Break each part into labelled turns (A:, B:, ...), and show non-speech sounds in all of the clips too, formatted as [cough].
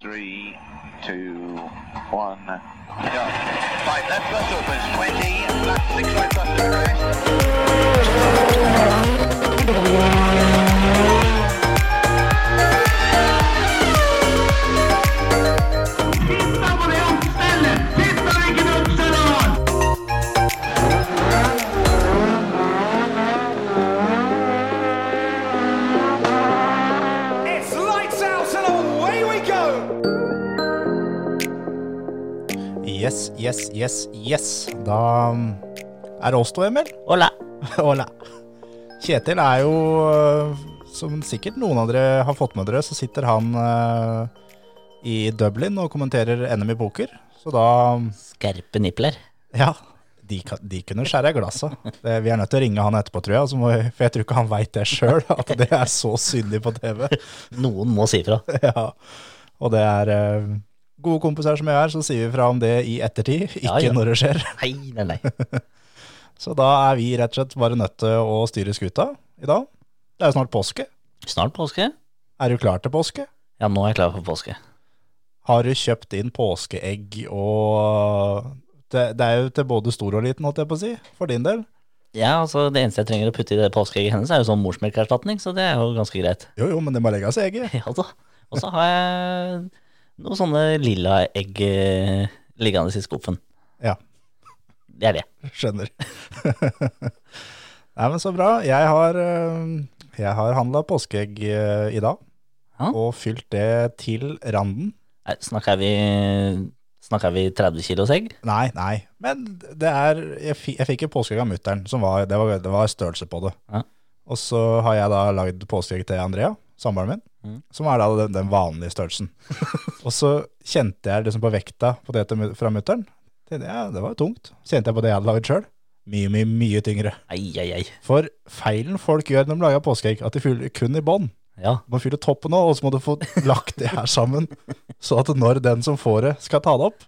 A: Three, two, one, go. Right, left bus opens 20, left six right bus to crest.
B: It's lights out and away we go!
C: Yes, yes, yes, yes. Da um, er det oss to, Emil. [laughs]
D: Hola.
C: Hola. Kjetil er jo, øh, som sikkert noen av dere har fått med dere, så sitter han øh, i Dublin og kommenterer NM i poker. Så da um,
D: Skarpe nipler.
C: Ja, de, kan- de kunne skjære i glasset. Det, vi er nødt til å ringe han etterpå, tror jeg. så må vi- For jeg tror ikke han veit det sjøl, [laughs] at det er så synlig på TV.
D: Noen må si fra.
C: [laughs] Ja, og det er eh, gode kompiser som jeg er, så sier vi fra om det i ettertid, ikke
D: Ja, ja.
C: når det skjer.
D: Nei, nei, nei.
C: Så da er vi rett og slett bare nødt til å styre skuta i dag. Det er jo snart påske.
D: Snart påske.
C: Er du klar til påske?
D: Ja, nå er jeg klar for påske.
C: Har du kjøpt inn påskeegg og det, det er jo til både stor og liten, holdt jeg på å si, for din del.
D: Ja, altså Det eneste jeg trenger å putte i det påskeegget hennes, er jo sånn morsmelkerstatning, så det er jo ganske greit.
C: Jo, jo, men det må legges i egget.
D: [laughs]
C: [laughs]
D: Ja da. Og så har jeg noen sånne lilla egg eh, liggende i skuffen.
C: Ja.
D: Det er det.
C: Skjønner. Nei, men så bra. Jeg har, eh, jeg har handla påskeegg eh, i dag,
D: Ja.
C: og fylt det til randen.
D: Nei, Snakker vi, snakker vi 30 kilos egg?
C: Nei, nei. Men det er Jeg, fi- jeg fikk jo påskeegg av mutter'n, som var det, var det var størrelse på det.
D: Ja.
C: Og så har jeg da lagd påskeegg til Andrea, samboeren min,
D: Mhm.
C: som er da den, den vanlige størrelsen. og så kjente jeg liksom på vekta på det til mu- fra mutter'n. Tenkte jeg, Ja, det var jo tungt. Så kjente jeg på det jeg hadde lagd sjøl. Mye, mye, mye tyngre.
D: Ai, ai, ai.
C: For feilen folk gjør når de lager påskeegg, at de fyller kun i bånn.
D: Ja.
C: Du må fylle toppen òg, og så må du få lagt det her sammen. Så at når den som får det, skal ta det opp,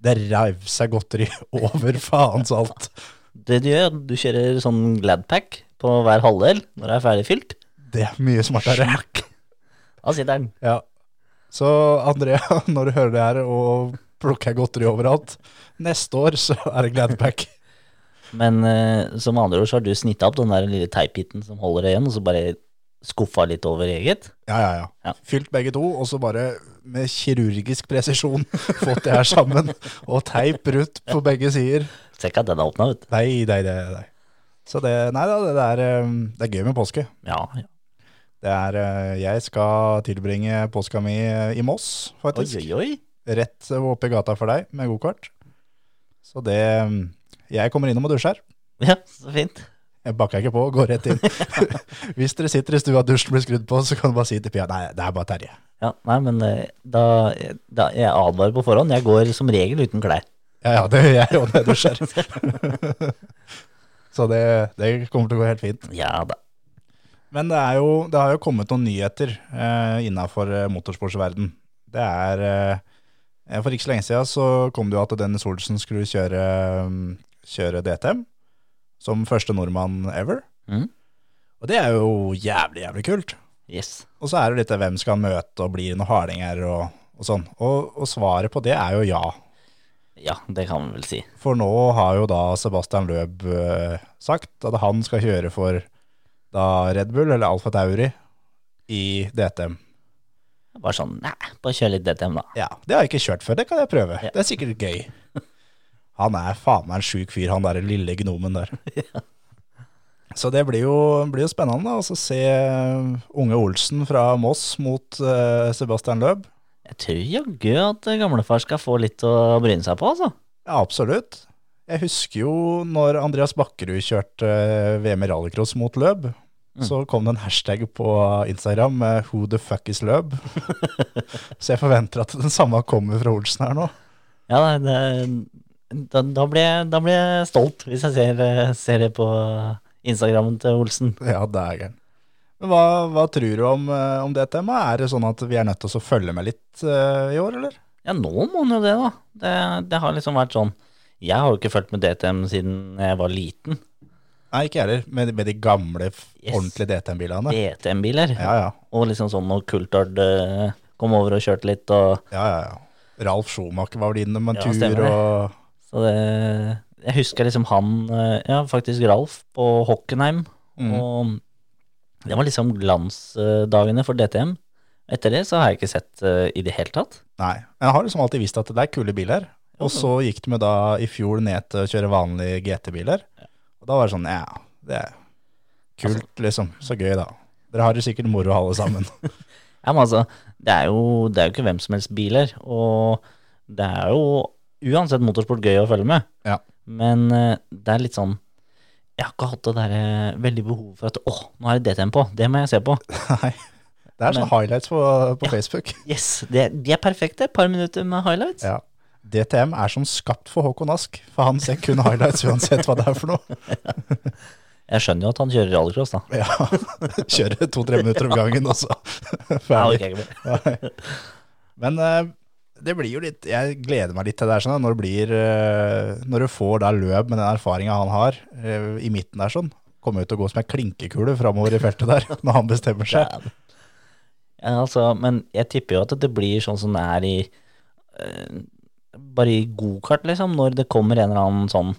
C: det reiv seg godteri over faens alt.
D: Det du gjør, du kjører sånn Gladpack på hver halvdel når det er ferdig fylt.
C: Det er mye smartere.
D: Smakk! Da sitter den.
C: Ja. Så Andrea, når du hører det her og plukker godteri overalt, neste år så er det Gladpack.
D: Men eh, som andre ord så har du snitta opp den der lille teipbiten som holder det igjen, og så bare skuffa litt over eget.
C: Ja, ja, ja.
D: Ja.
C: Fylt begge to, og så bare med kirurgisk presisjon fått det her sammen. Og teip rundt på begge sider.
D: Ser ikke at den er åpna, vet du.
C: Nei, nei, nei, nei. Så det, nei da, det, er, um, det er gøy med påske.
D: Ja, ja.
C: Det er, eh, jeg skal tilbringe påska mi eh, i Moss,
D: Oi,
C: faktisk.
D: oi, oi.
C: Rett oppe i gata for deg med gokart. Så det um, Jeg kommer innom og dusjer.
D: Ja, så fint.
C: Jeg bakker ikke på, går rett inn. [laughs] Hvis dere sitter i stua og dusjen blir skrudd på, så kan du bare si til Pia Nei, det er bare Terje.
D: Ja, nei, men eh, da, da Jeg advarer på forhånd. Jeg går som regel uten klær.
C: Ja, ja, det gjør jeg òg når jeg dusjer. [laughs] så det, det kommer til å gå helt fint.
D: Ja da.
C: Men det, er jo, det har jo kommet noen nyheter eh, innafor eh, motorsportsverden. Det er eh, For ikke så lenge siden så kom det jo at Dennis Olsen skulle kjøre, mm, kjøre DTM som første nordmann ever.
D: Mhm.
C: Og det er jo jævlig, jævlig kult.
D: Yes.
C: Og så er det litt det hvem skal han møte og blir noen hardinger og, og sånn. Og, og svaret på det er jo ja.
D: Ja, det kan man vel si.
C: For nå har jo da Sebastian Løb eh, sagt at han skal kjøre for da Red Bull eller Alfa Tauri i DTM.
D: Bare sånn Nei, bare kjør litt DTM, da.
C: Ja, det har jeg ikke kjørt før, det kan jeg prøve.
D: Ja.
C: Det er sikkert gøy. Han er faen meg en sjuk fyr, han der lille gnomen der. Så det blir jo, blir jo spennende da, å se eh, unge Olsen fra Moss mot eh, Sebastian Løb.
D: Jeg tror jaggu at gamlefar skal få litt å bryne seg på, altså.
C: Ja, absolutt. Jeg husker jo når Andreas Bakkerud kjørte eh, VM i rallycross mot Løb,
D: Mm.
C: så kom det en hashtag på Instagram med 'Who the fuck is
D: [laughs]
C: Løb?' så jeg forventer at den samme kommer fra Olsen her nå.
D: Ja, nei, det, da, da, blir jeg, da blir jeg stolt hvis jeg ser, ser det på Instagrammen til Olsen.
C: Ja, det er gæren. Men hva, hva tror du om, eh, om det temaet? Er det sånn at vi er nødt til å følge med litt eh, i år, eller?
D: Ja, nå må han jo det, da. Det, det har liksom vært sånn. Jeg har jo ikke fulgt med DTM siden jeg var liten.
C: Nei, ikke jeg heller. Med, med de gamle, f-
D: Yes.
C: ordentlige DTM-bilene.
D: DTM-biler.
C: Ja, ja.
D: Og liksom sånn noe kultard eh, kom over og kjørte litt. Og,
C: Ja, ja, ja. Ralf Schumacher var vel inne med
D: Ja,
C: en
D: stemmer
C: tur,
D: det.
C: og
D: så det, jeg husker liksom han, eh, ja, faktisk Ralf på Hockenheim.
C: mm.
D: Og det var liksom glansdagene for DTM. Etter det så har jeg ikke sett eh, i det hele tatt.
C: Nei. Men jeg har liksom alltid visst at det er kule biler. Og så gikk de med da i fjor ned til å kjøre vanlige GT-biler. Og da var det sånn, ja, det er kult, liksom. Så gøy, da. Dere har det sikkert moro, alle sammen.
D: Ja, men altså, det er, jo, det er jo ikke hvem som helst biler, og det er jo uansett motorsport gøy å følge med.
C: Ja.
D: Men eh, det er litt sånn Jeg har ikke hatt det der eh, veldig behov for at åh, nå er det DTM på, det må jeg se på.
C: Nei. Det er sånne highlights på, på Facebook.
D: Yes, det, De er perfekte, et par minutter med highlights.
C: Ja. DTM er som skapt for Håkon Ask, for han ser kun highlights uansett hva det er for noe.
D: Jeg skjønner jo at han kjører rallycross, da.
C: [laughs] Ja, Kjøre to-tre minutter om gangen, og så
D: Ja,
C: ferdig.
D: okay, ikke mer.
C: Nei. Men eh, det blir jo litt Jeg gleder meg litt til det der, sånn, når, det blir, eh, når du får da løp med den erfaringa han har eh, i midten der, sånn. Kommer jo til å gå som ei klinkekule framover i feltet der, [laughs] når han bestemmer seg.
D: Ja. Ja, altså, men jeg tipper jo at det blir sånn som det er i eh, Bare i gokart, liksom, når det kommer en eller annen sånn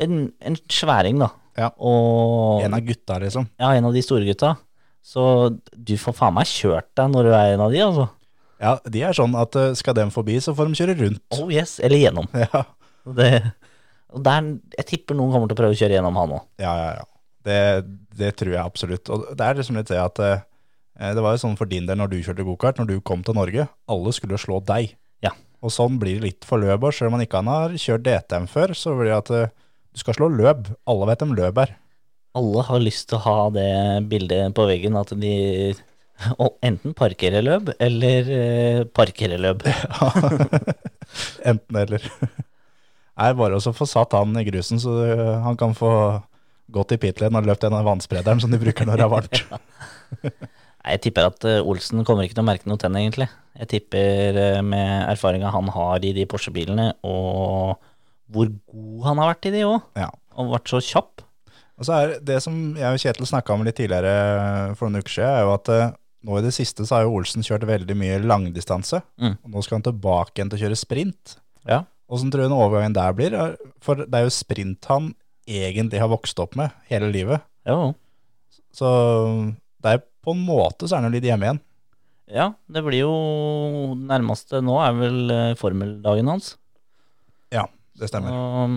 D: En, en sværing, da.
C: Ja.
D: Og
C: En av gutta, liksom.
D: ja, en av de store gutta. Så du får faen meg kjørt deg når du er en av de, altså.
C: Ja, De er sånn at eh, skal dem forbi, så får de kjøre rundt.
D: Oh yes, eller gjennom.
C: [laughs] Ja,
D: Og Det, og der, jeg tipper noen kommer til å prøve å kjøre gjennom han òg.
C: ja, ja. ja. Det, det tror jeg absolutt. Og det er liksom litt det at eh, det var jo sånn for din del når du kjørte gokart, når du kom til Norge. Alle skulle slå deg.
D: Ja.
C: Og sånn blir det litt for løp òg. Selv om man ikke har kjørt DTM før, så blir det at eh, du skal slå løp. Alle vet hvem løp er.
D: Alle har lyst til å ha det bildet på veggen at de og enten parkerer løp eller eh, parkerer løp.
C: Enten eller. Det er bare å få satt han i grusen, så eh, han kan få gått i pitlane og løpt en av vannsprederen som de bruker når det er varmt.
D: Nei, Jeg tipper at eh, Olsen kommer ikke til å merke noe tenn, egentlig. Jeg tipper eh, med erfaringa han har i de Porsche-bilene, og hvor god han har vært i de òg,
C: Ja.
D: og vært så kjapp.
C: Og så er det som jeg og Kjetil snakka om litt tidligere eh, for noen uker siden, er jo at eh, nå i det siste så har jo Olsen kjørt veldig mye langdistanse.
D: Mm.
C: Og nå skal han tilbake igjen til å kjøre sprint.
D: Ja.
C: Åssen tror du den overgangen der blir? Er- For det er jo sprint han egentlig har vokst opp med hele livet.
D: Jo.
C: Så det er på en måte så er han jo litt hjemme igjen.
D: Ja, det blir jo nærmeste nå er vel eh, formeldagen hans.
C: Ja, det stemmer.
D: Og,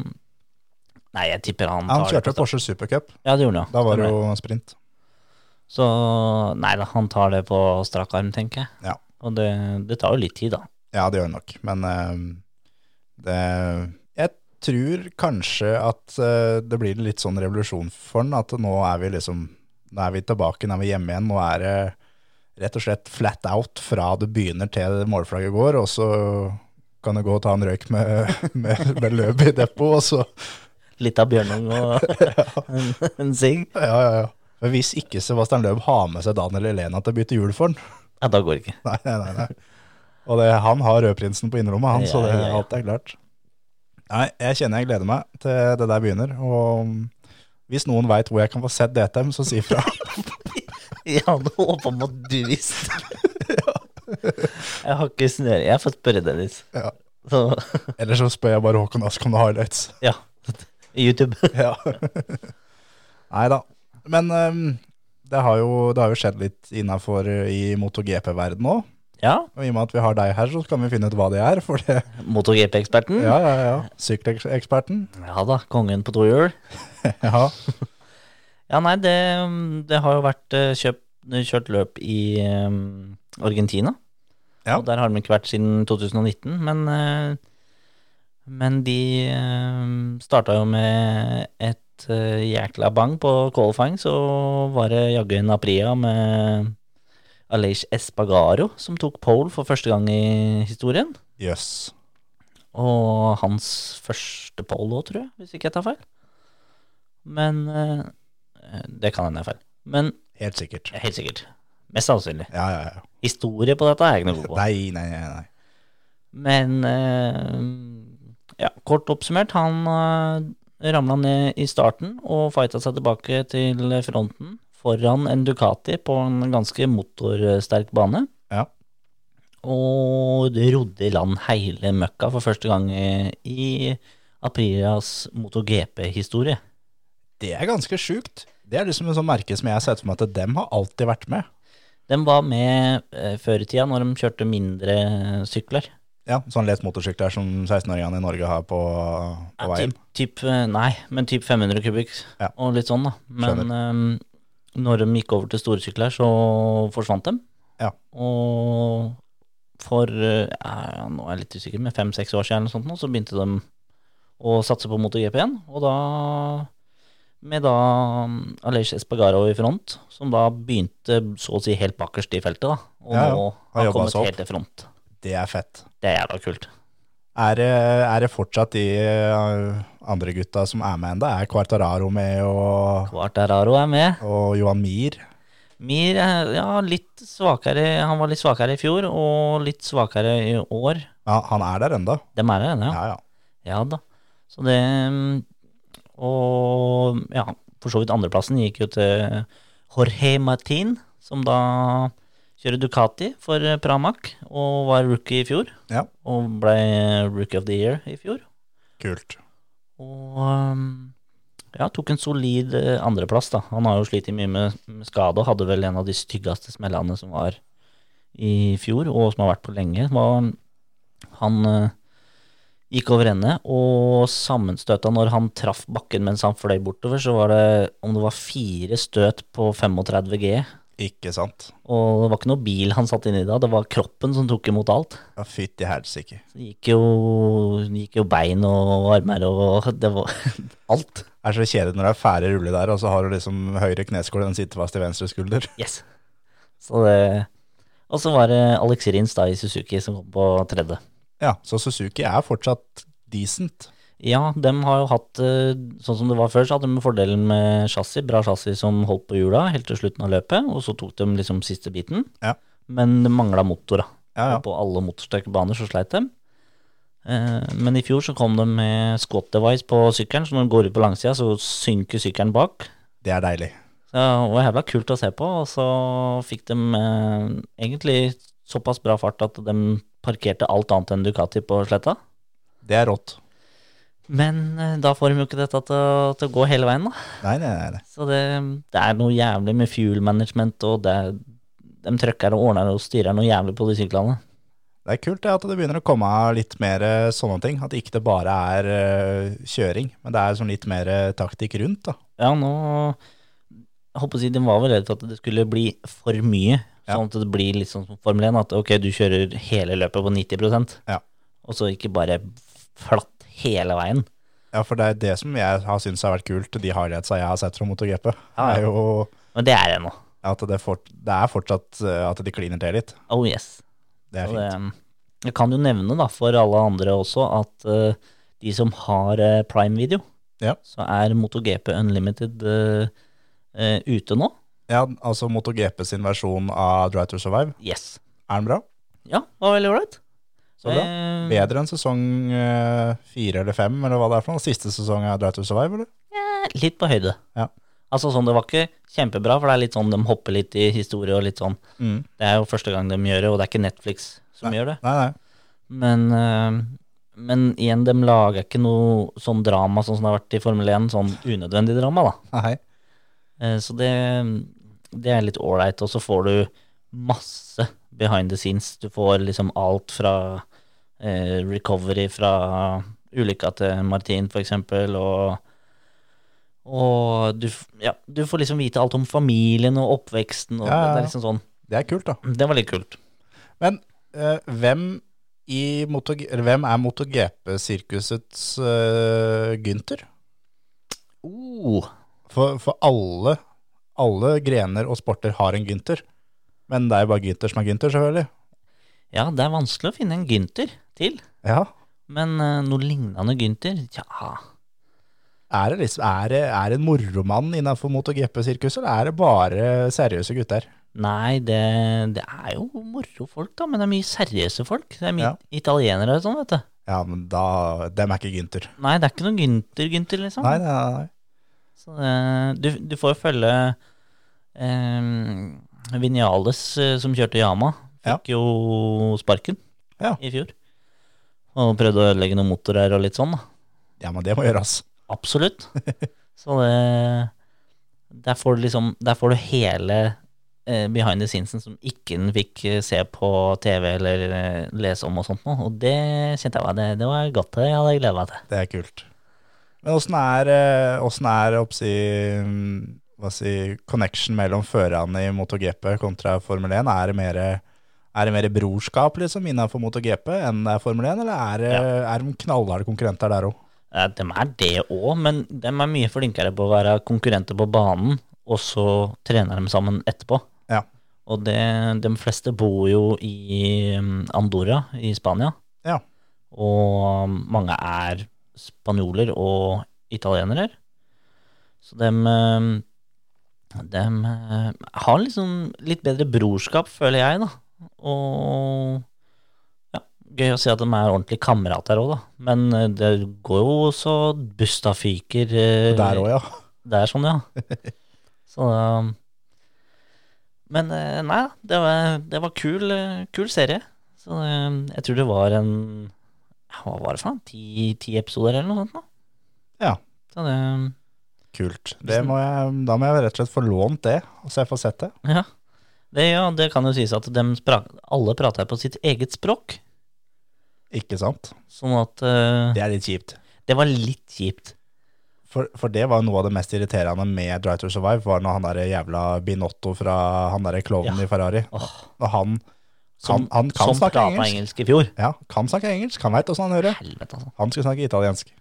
D: nei, jeg tipper han
C: Han
D: tar
C: kjørte
D: det på
C: Porsche Supercup.
D: strak- Ja, det gjorde han.
C: Da var det
D: Stemmer
C: jo sprint.
D: Så nei da, han tar det på strak arm, tenker jeg.
C: Ja.
D: Og det, det tar jo litt tid, da.
C: Ja, det gjør det nok. Men eh, det, jeg tror kanskje at eh, det blir litt sånn revolusjon for den, at nå er vi liksom nå er vi tilbake, nå er vi hjemme igjen. Nå er det rett og slett flat out fra du begynner til målflagget går, og så kan du gå og ta en røyk med, [laughs] med, med løp i depot, og så
D: Litt av Bjørnung og
C: [laughs]
D: [laughs] en, en sigg.
C: Ja, ja, ja. Men hvis ikke Sebastian Løb har med seg Daniel Elena til å bytte hjul for den
D: Ja, da går det ikke.
C: [laughs] Nei, nei, nei. nei. Og det, han har rødprinsen på innerlommet, han, så det,
D: Ja, ja, ja.
C: alt er klart. Nei, jeg kjenner jeg gleder meg til det der begynner. Og mm, hvis noen veit hvor jeg kan få sett DTM, så si [laughs] ifra.
D: Jeg hadde håpa om at du visste. [laughs] Jeg har ikke snøring. Jeg får spørre Dennis.
C: Ja.
D: Så
C: Eller så spør jeg bare Håkon Ask om det har [laughs] highlights.
D: ja, YouTube.
C: Ja. Nei da. Men ehm, det, har jo, det har jo skjedd litt innafor i MotoGP-verden òg.
D: Ja,
C: Og i og med at vi har deg her, så kan vi finne ut hva det er. For det,
D: MotoGP-eksperten.
C: [laughs] ja, ja, ja. Sykkeleksperten.
D: ja da, kongen på to hjul.
C: Ja.
D: Ja, nei, det, det har jo vært eh, kjøp, kjørt løp i eh, Argentina.
C: Ja.
D: Og der har de ikke vært siden 2019, men, eh, men de um, starta jo med et eh, jækla bang på qualifying, så var det jaggu en Apria med Aleix Espagaro som tok pole for første gang i historien.
C: Jøss.
D: Og hans første pole òg, tror jeg, hvis ikke jeg tar feil. Men eh, Det kan hende jeg tar feil. Men eh,
C: Helt sikkert.
D: helt sikkert. Mest sannsynlig.
C: Ja, ja, ja.
D: Historie på dette er jeg ikke noe god på.
C: Nei, nei, nei. nei.
D: Men eh, ja, kort oppsummert, han uh, ramla ned i starten og fighta seg tilbake til fronten foran en Ducati på en ganske motorsterk bane.
C: Ja.
D: og rodde i land hele møkka for første gang eh, i Aprilias MotoGP-historie.
C: Det er ganske sjukt. Det er liksom en sånn merke som jeg har sett for meg at dem har alltid vært med.
D: Den var med eh, før i tida, når de kjørte mindre sykler.
C: Ja, Sånn lett motorsykler som 16-åringene i Norge har på, på
D: Ja,
C: veien.
D: Typ, typ, eh, nei, men typ 500 kubikk
C: Ja.
D: og litt sånn, da. Men eh, når de gikk over til store sykler, så forsvant de.
C: Ja.
D: Og for eh, ja, nå er jeg litt usikker, men fem-seks år siden eller noe sånt nå, så begynte de å satse på MotoGP igjen. Og da med da mm, Aleix Espargaro i front, som da begynte så å si helt bakerst i feltet, da. Og
C: Ja, ja.
D: nå
C: Har
D: har
C: jobbet
D: kommet
C: seg opp.
D: helt til front.
C: Det er fett.
D: Det er jævla kult.
C: Er, det- er det fortsatt de eh, andre gutta som er med ennå? Er Quartararo med, og,
D: Quartararo er med.
C: og Johan Mir?
D: Mir er ja, litt svakere. Han var litt svakere i fjor, og litt svakere i år.
C: Ja, han er der enda.
D: Dem er det ennå, ja.
C: Ja, ja.
D: ja da. Så det mm, Og ja, for så vidt andreplassen gikk jo til Jorge Martin, som da kjører Ducati for eh, Pramac, og var rookie i fjor.
C: Ja.
D: Og ble rookie of the year i fjor.
C: Kult.
D: Og um, ja, tok en solid eh, andreplass, da. Han har jo slitt mye med, med skade, og hadde vel en av de styggeste smellene som var i fjor, og som har vært på lenge. Var, han eh, gikk over ende, og sammenstøta når han traff bakken mens han fløy bortover, så var det om det var fire støt på 35 G.
C: Ikke sant?
D: Og det var ikke noe bil han satt inni da, det var kroppen som tok imot alt.
C: Ja, Fytti helsike.
D: Så det gikk jo, gikk jo bein og armer og [laughs] det var alt.
C: Det er så kjedelig når det er fæle rulle der, og så har du liksom høyre kneskål, den sitter fast i venstre skulder.
D: Yes. Så det Og så var det Alex Rins da i Suzuki som kom på tredje.
C: Ja, så Suzuki er fortsatt decent.
D: Ja, dem har jo hatt eh, Sånn som det var før, så hadde de fordelen med chassis. Bra chassis som holdt på hjula helt til slutten av løpet, og så tok de liksom siste biten.
C: Ja.
D: Men det mangla motor, da.
C: Ja, ja.
D: Og På alle motorsterke baner så sleit de. Eh, Men i fjor så kom de med squat device på sykkelen, så når de går ut på langsida, så synker sykkelen bak.
C: Det er deilig.
D: Så det var jævla kult å se på, og så fikk de eh, egentlig såpass bra fart at de parkerte alt annet enn Ducati på sletta.
C: Det er rått.
D: Men eh, da får de jo ikke dette til, å- til å gå hele veien, da.
C: Nei, nei, nei. nei.
D: Så det, det er noe jævlig med fuel management, og det, er- de trøkker og ordner og styrer noe jævlig på de syklene.
C: Det er kult det, at det begynner å komme litt mer eh, sånne ting. At ikke det bare er eh, kjøring, men det er sånn litt mer eh, taktikk rundt. da.
D: Ja, nå Jeg håper å si de var vel redd for at det skulle bli for mye.
C: Ja.
D: Sånn at det blir litt sånn som Formel 1, at ok, du kjører hele løpet på 90
C: Ja.
D: og så ikke bare flatt hele veien.
C: Ja, For det er det som jeg har syntes har vært kult, de highlightsa jeg har sett fra MotoGP.
D: Ja, ja.
C: er jo
D: Men det er jeg nå.
C: at det, fort, det er fortsatt eh, at de kliner til litt.
D: Oh yes.
C: Det er
D: Og
C: fint.
D: det, jeg kan jo nevne da, for alle andre også at eh, de som har eh, Prime Video,
C: Ja.
D: så er MotoGP Unlimited eh, eh, ute nå.
C: Ja, altså MotoGP sin versjon av Drive to Survive,
D: Yes.
C: er den bra?
D: Ja, var veldig ålreit.
C: Så bra.
D: Eh,
C: Bedre enn sesong eh, fire eller fem, eller hva det er for noe? Siste sesong av Drive to Survive, eller?
D: eh, litt på høyde.
C: Ja.
D: Altså sånn, Det var ikke kjempebra, for det er litt sånn de hopper litt i historie. og litt sånn.
C: Mm.
D: Det er jo første gang de gjør det, og det er ikke Netflix som gjør det.
C: Nei, nei.
D: Men, eh, men igjen, de lager ikke noe sånn drama sånn som det har vært i Formel 1. Sånn unødvendig drama, da.
C: nei.
D: Eh, Så det, det er litt ålreit. Og så får du masse behind the scenes. Du får liksom alt fra eh, recovery fra ulykka til Martin, for eksempel, og og du, f- ja, du får liksom vite alt om familien og oppveksten. Og
C: Ja, ja,
D: Det
C: ja.
D: er liksom sånn
C: Det er kult, da.
D: Det var litt kult.
C: Men eh, hvem, i Moto, eller hvem er MotoGP-sirkusets eh, Gynter?
D: Oh,
C: For, for alle, alle grener og sporter har en Gynter. Men det er jo bare Gynter som er Gynter, selvfølgelig.
D: ja, det er vanskelig å finne en Gynter til.
C: Ja.
D: Men eh, noe lignende Gynter, ja
C: Er det, liksom, er det, er det en moromann innenfor MotoGP-sirkuset, eller er det bare seriøse gutter?
D: Nei, det, det er jo moro folk, da, men det er mye seriøse folk. Det er mye
C: Ja.
D: italienere og sånn, vet du.
C: Ja, men da, dem er ikke Gynter.
D: Nei, det er ikke noe Gynter-Gynter, liksom.
C: Nei, nei, nei. nei.
D: Så, eh, du, du får jo følge eh, Vinales, eh, som kjørte Yama,
C: Ja.
D: Fikk jo sparken
C: Ja.
D: i fjor. Og prøvde å ødelegge noen motorer og litt sånn, da.
C: Ja, men det må gjøres.
D: Absolutt. [laughs] Så det Der får du liksom Der får du hele eh, behind the scenesen som ikke den fikk eh, se på TV eller eh, lese om og sånt noe. Og det kjente jeg var det, det var godt det jeg hadde gleda meg til.
C: Det er kult. Men åssen er, eh, hvordan er oppsi, mm, hva si, connection mellom førerne i MotoGP kontra Formel 1? Er det mer, er det mer brorskap liksom, innenfor MotoGP enn det er Formel 1, eller er, det- er de knallharde konkurrenter der òg?
D: Ja, dem er det òg, men dem er mye flinkere på å være konkurrenter på banen, og så trener de sammen etterpå.
C: Ja.
D: Og det, de fleste bor jo i mm, Andorra i Spania.
C: Ja.
D: Og mange er spanjoler og italienere. Så dem, eh, dem eh, har liksom litt bedre brorskap, føler jeg, da. Og ja, gøy å se at de er ordentlige kamerater òg, da. Men eh, det går jo også busta fyker. eh,
C: Der òg, ja. [laughs]
D: det er sånn, ja. Så um, Men eh, nei da, det var, det var kul, eh, kul serie. Så eh, jeg tror det var en ja, Hva var det for noe? Ti, ti episoder eller noe sånt? Da.
C: Ja.
D: Så det, um,
C: Kult. Det må jeg, da må jeg rett og slett få lånt det, så jeg får sett det.
D: ja. Det, ja, det kan jo sies at dem spra alle prater på sitt eget språk.
C: Ikke sant?
D: Sånn at eh,
C: Det er litt kjipt.
D: Det var litt kjipt.
C: For, for det var jo noe av det mest irriterende med Drive to Survive, var når han der jævla Binotto fra han derre klovnen
D: Ja.
C: i Ferrari
D: Åh,
C: Når han
D: som
C: Han- han kan
D: som
C: snakke
D: prata
C: engelsk.
D: engelsk i fjor.
C: Ja, kan snakke engelsk, han veit åssen han hører.
D: Helvete, altså.
C: Han skulle snakke italiensk.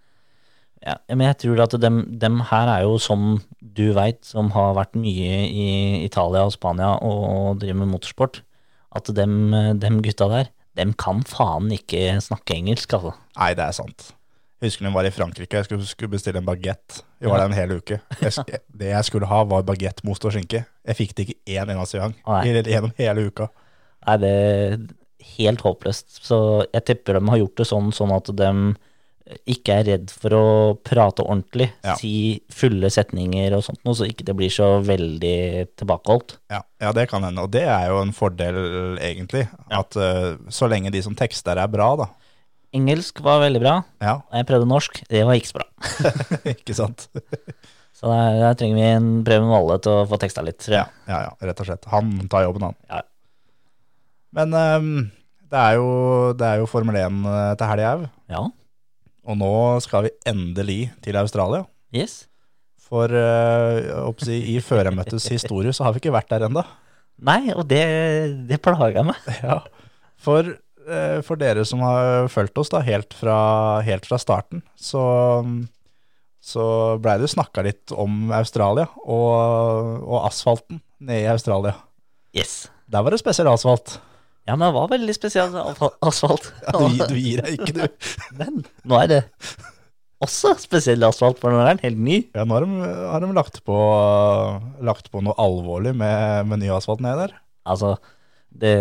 D: Ja, men jeg tror at dem, dem her er jo som du veit, som har vært mye i Italia og Spania og driver med motorsport, at dem, dem gutta der, dem kan faen ikke snakke engelsk, altså.
C: Nei, det er sant. Jeg husker når vi var i Frankrike, jeg skulle, skulle bestille en bagett. Vi var der en hel uke. Jeg,
D: [laughs]
C: sk- det jeg skulle ha, var bagett, most og skinke. Jeg fikk det ikke én eneste gang
D: Nei.
C: i- gjennom hele uka.
D: Er det helt håpløst. Så jeg tipper dem har gjort det sånn, sånn at dem ikke er redd for å prate ordentlig,
C: Ja.
D: si fulle setninger og sånt noe, så ikke det blir så veldig tilbakeholdt.
C: Ja, ja, det kan hende. Og det er jo en fordel, egentlig. At eh, så lenge de som tekster er bra, da.
D: Engelsk var veldig bra,
C: Ja,
D: og jeg prøvde norsk, det var ikke så bra.
C: [laughs] ikke sant?
D: Så der, der trenger vi en Preben Valle til å få teksta litt, tror jeg.
C: Ja, ja, rett og slett. Han tar jobben, han.
D: Ja.
C: Men ehm, det, er jo, det er jo Formel 1 til helga òg,
D: Ja.
C: og nå skal vi endelig til Australia.
D: Yes.
C: For eh, jeg håper å si, i førermøtets historie så har vi ikke vært der ennå.
D: Nei, og det, det plaga meg.
C: For, eh, for dere som har fulgt oss da, helt fra, helt fra starten, så, så blei det snakka litt om Australia og, og asfalten nede i Australia.
D: Yes.
C: Der var det spesiell asfalt.
D: Ja, men det var veldig spesiell asfal- asfalt.
C: Ja, [laughs] du,
D: [laughs]
C: gi- du gir deg ikke, du.
D: Men nå er det også spesiell asfalt, for nå er den helt ny.
C: Ja, nå har de, har de lagt, på, lagt på noe alvorlig med, med ny asfalt nede der.
D: Altså, det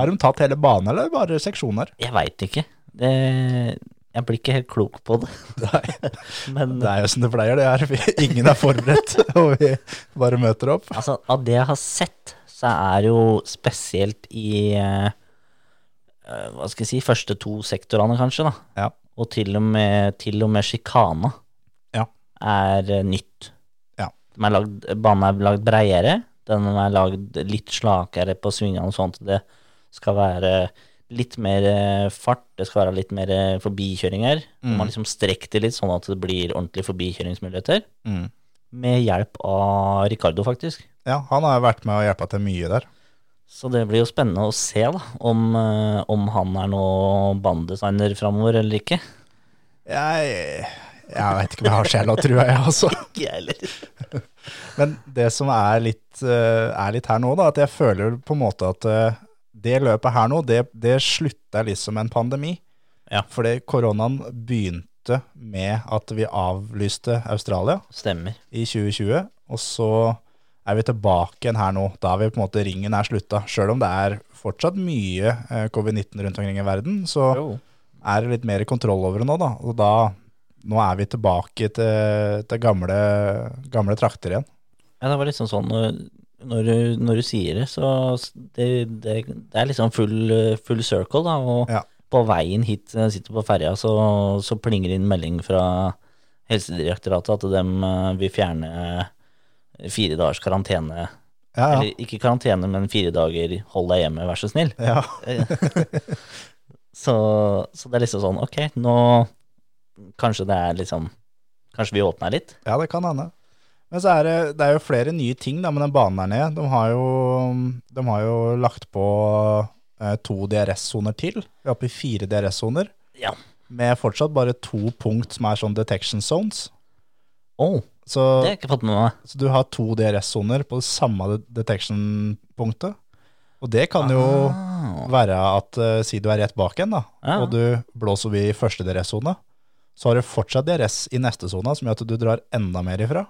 C: Har de tatt hele banen, eller bare seksjoner?
D: Jeg veit ikke. Det Jeg blir ikke helt klok på det.
C: [laughs] Nei.
D: Men
C: Det er jo som det pleier, det er. vi- Ingen er forberedt, [laughs] og vi bare møter opp.
D: altså, av det jeg har sett, så er jo spesielt i eh, eh, Hva skal jeg si Første to sektorene, kanskje, da.
C: Ja.
D: Og til og med, til og med sjikana
C: Ja.
D: er eh, nytt.
C: Ja.
D: De er lagd, banen er lagd breiere, den er lagd litt slakere på svingene og sånt. Det skal være litt mer eh, fart, det skal være litt mer eh, forbikjøringer.
C: Mm.
D: Man liksom strekker det litt sånn at det blir ordentlige forbikjøringsmuligheter.
C: Mm.
D: Med hjelp av Ricardo, faktisk.
C: Ja, han har jo vært med og hjelpa til mye der.
D: Så det blir jo spennende å se da, om, eh, om han er noe banedesigner framover eller ikke.
C: Jeg, jeg veit ikke om jeg har sjela, tror jeg, altså.
D: Ikke jeg heller.
C: Men det som er litt, eh, er litt her nå, da, at jeg føler på en måte at eh, det løpet her nå, det, det slutta liksom en pandemi.
D: Ja.
C: Fordi koronaen begynte med at vi avlyste Australia
D: Stemmer.
C: i 2020, og så er vi tilbake igjen her nå. Da er vi på en måte ringen er slutta. Sjøl om det er fortsatt mye eh, covid-19 rundt omkring i verden, så er det litt mer kontroll over det nå, da. Og da, nå er vi tilbake til, til gamle, gamle trakter igjen.
D: Ja, det var liksom sånn når når du, når du sier det, så s- det, det, det er liksom full, eh, full circle, da. Og
C: Ja.
D: på veien hit, eh, sitter på ferja, så, så plinger det inn melding fra Helsedirektoratet at de vil fjerne eh, fire dagers karantene.
C: Ja, ja.
D: Eller ikke karantene, men fire dager hold deg hjemme, vær så
C: [laughs]
D: snill.
C: ja.
D: Så, så det er liksom sånn, ok, nå kanskje det er liksom Kanskje vi åpner litt?
C: Ja, det kan hende. Men så er det, det er jo flere nye ting da, med den banen her nede. De har jo, de har jo lagt på eh, to DRS-soner til. Vi er oppe i fire DRS-soner,
D: Ja.
C: med fortsatt bare to punkt som er sånn detection zones.
D: Å,
C: Så,
D: det har jeg ikke fått med meg.
C: så du har to DRS-soner på det samme de- detection-punktet. Og det kan jo
D: Ah.
C: være at eh, si du er rett bak en, da,
D: Ja.
C: og du blåser forbi første DRS-sone, så har du fortsatt DRS i neste sone, som gjør at du drar enda mer ifra.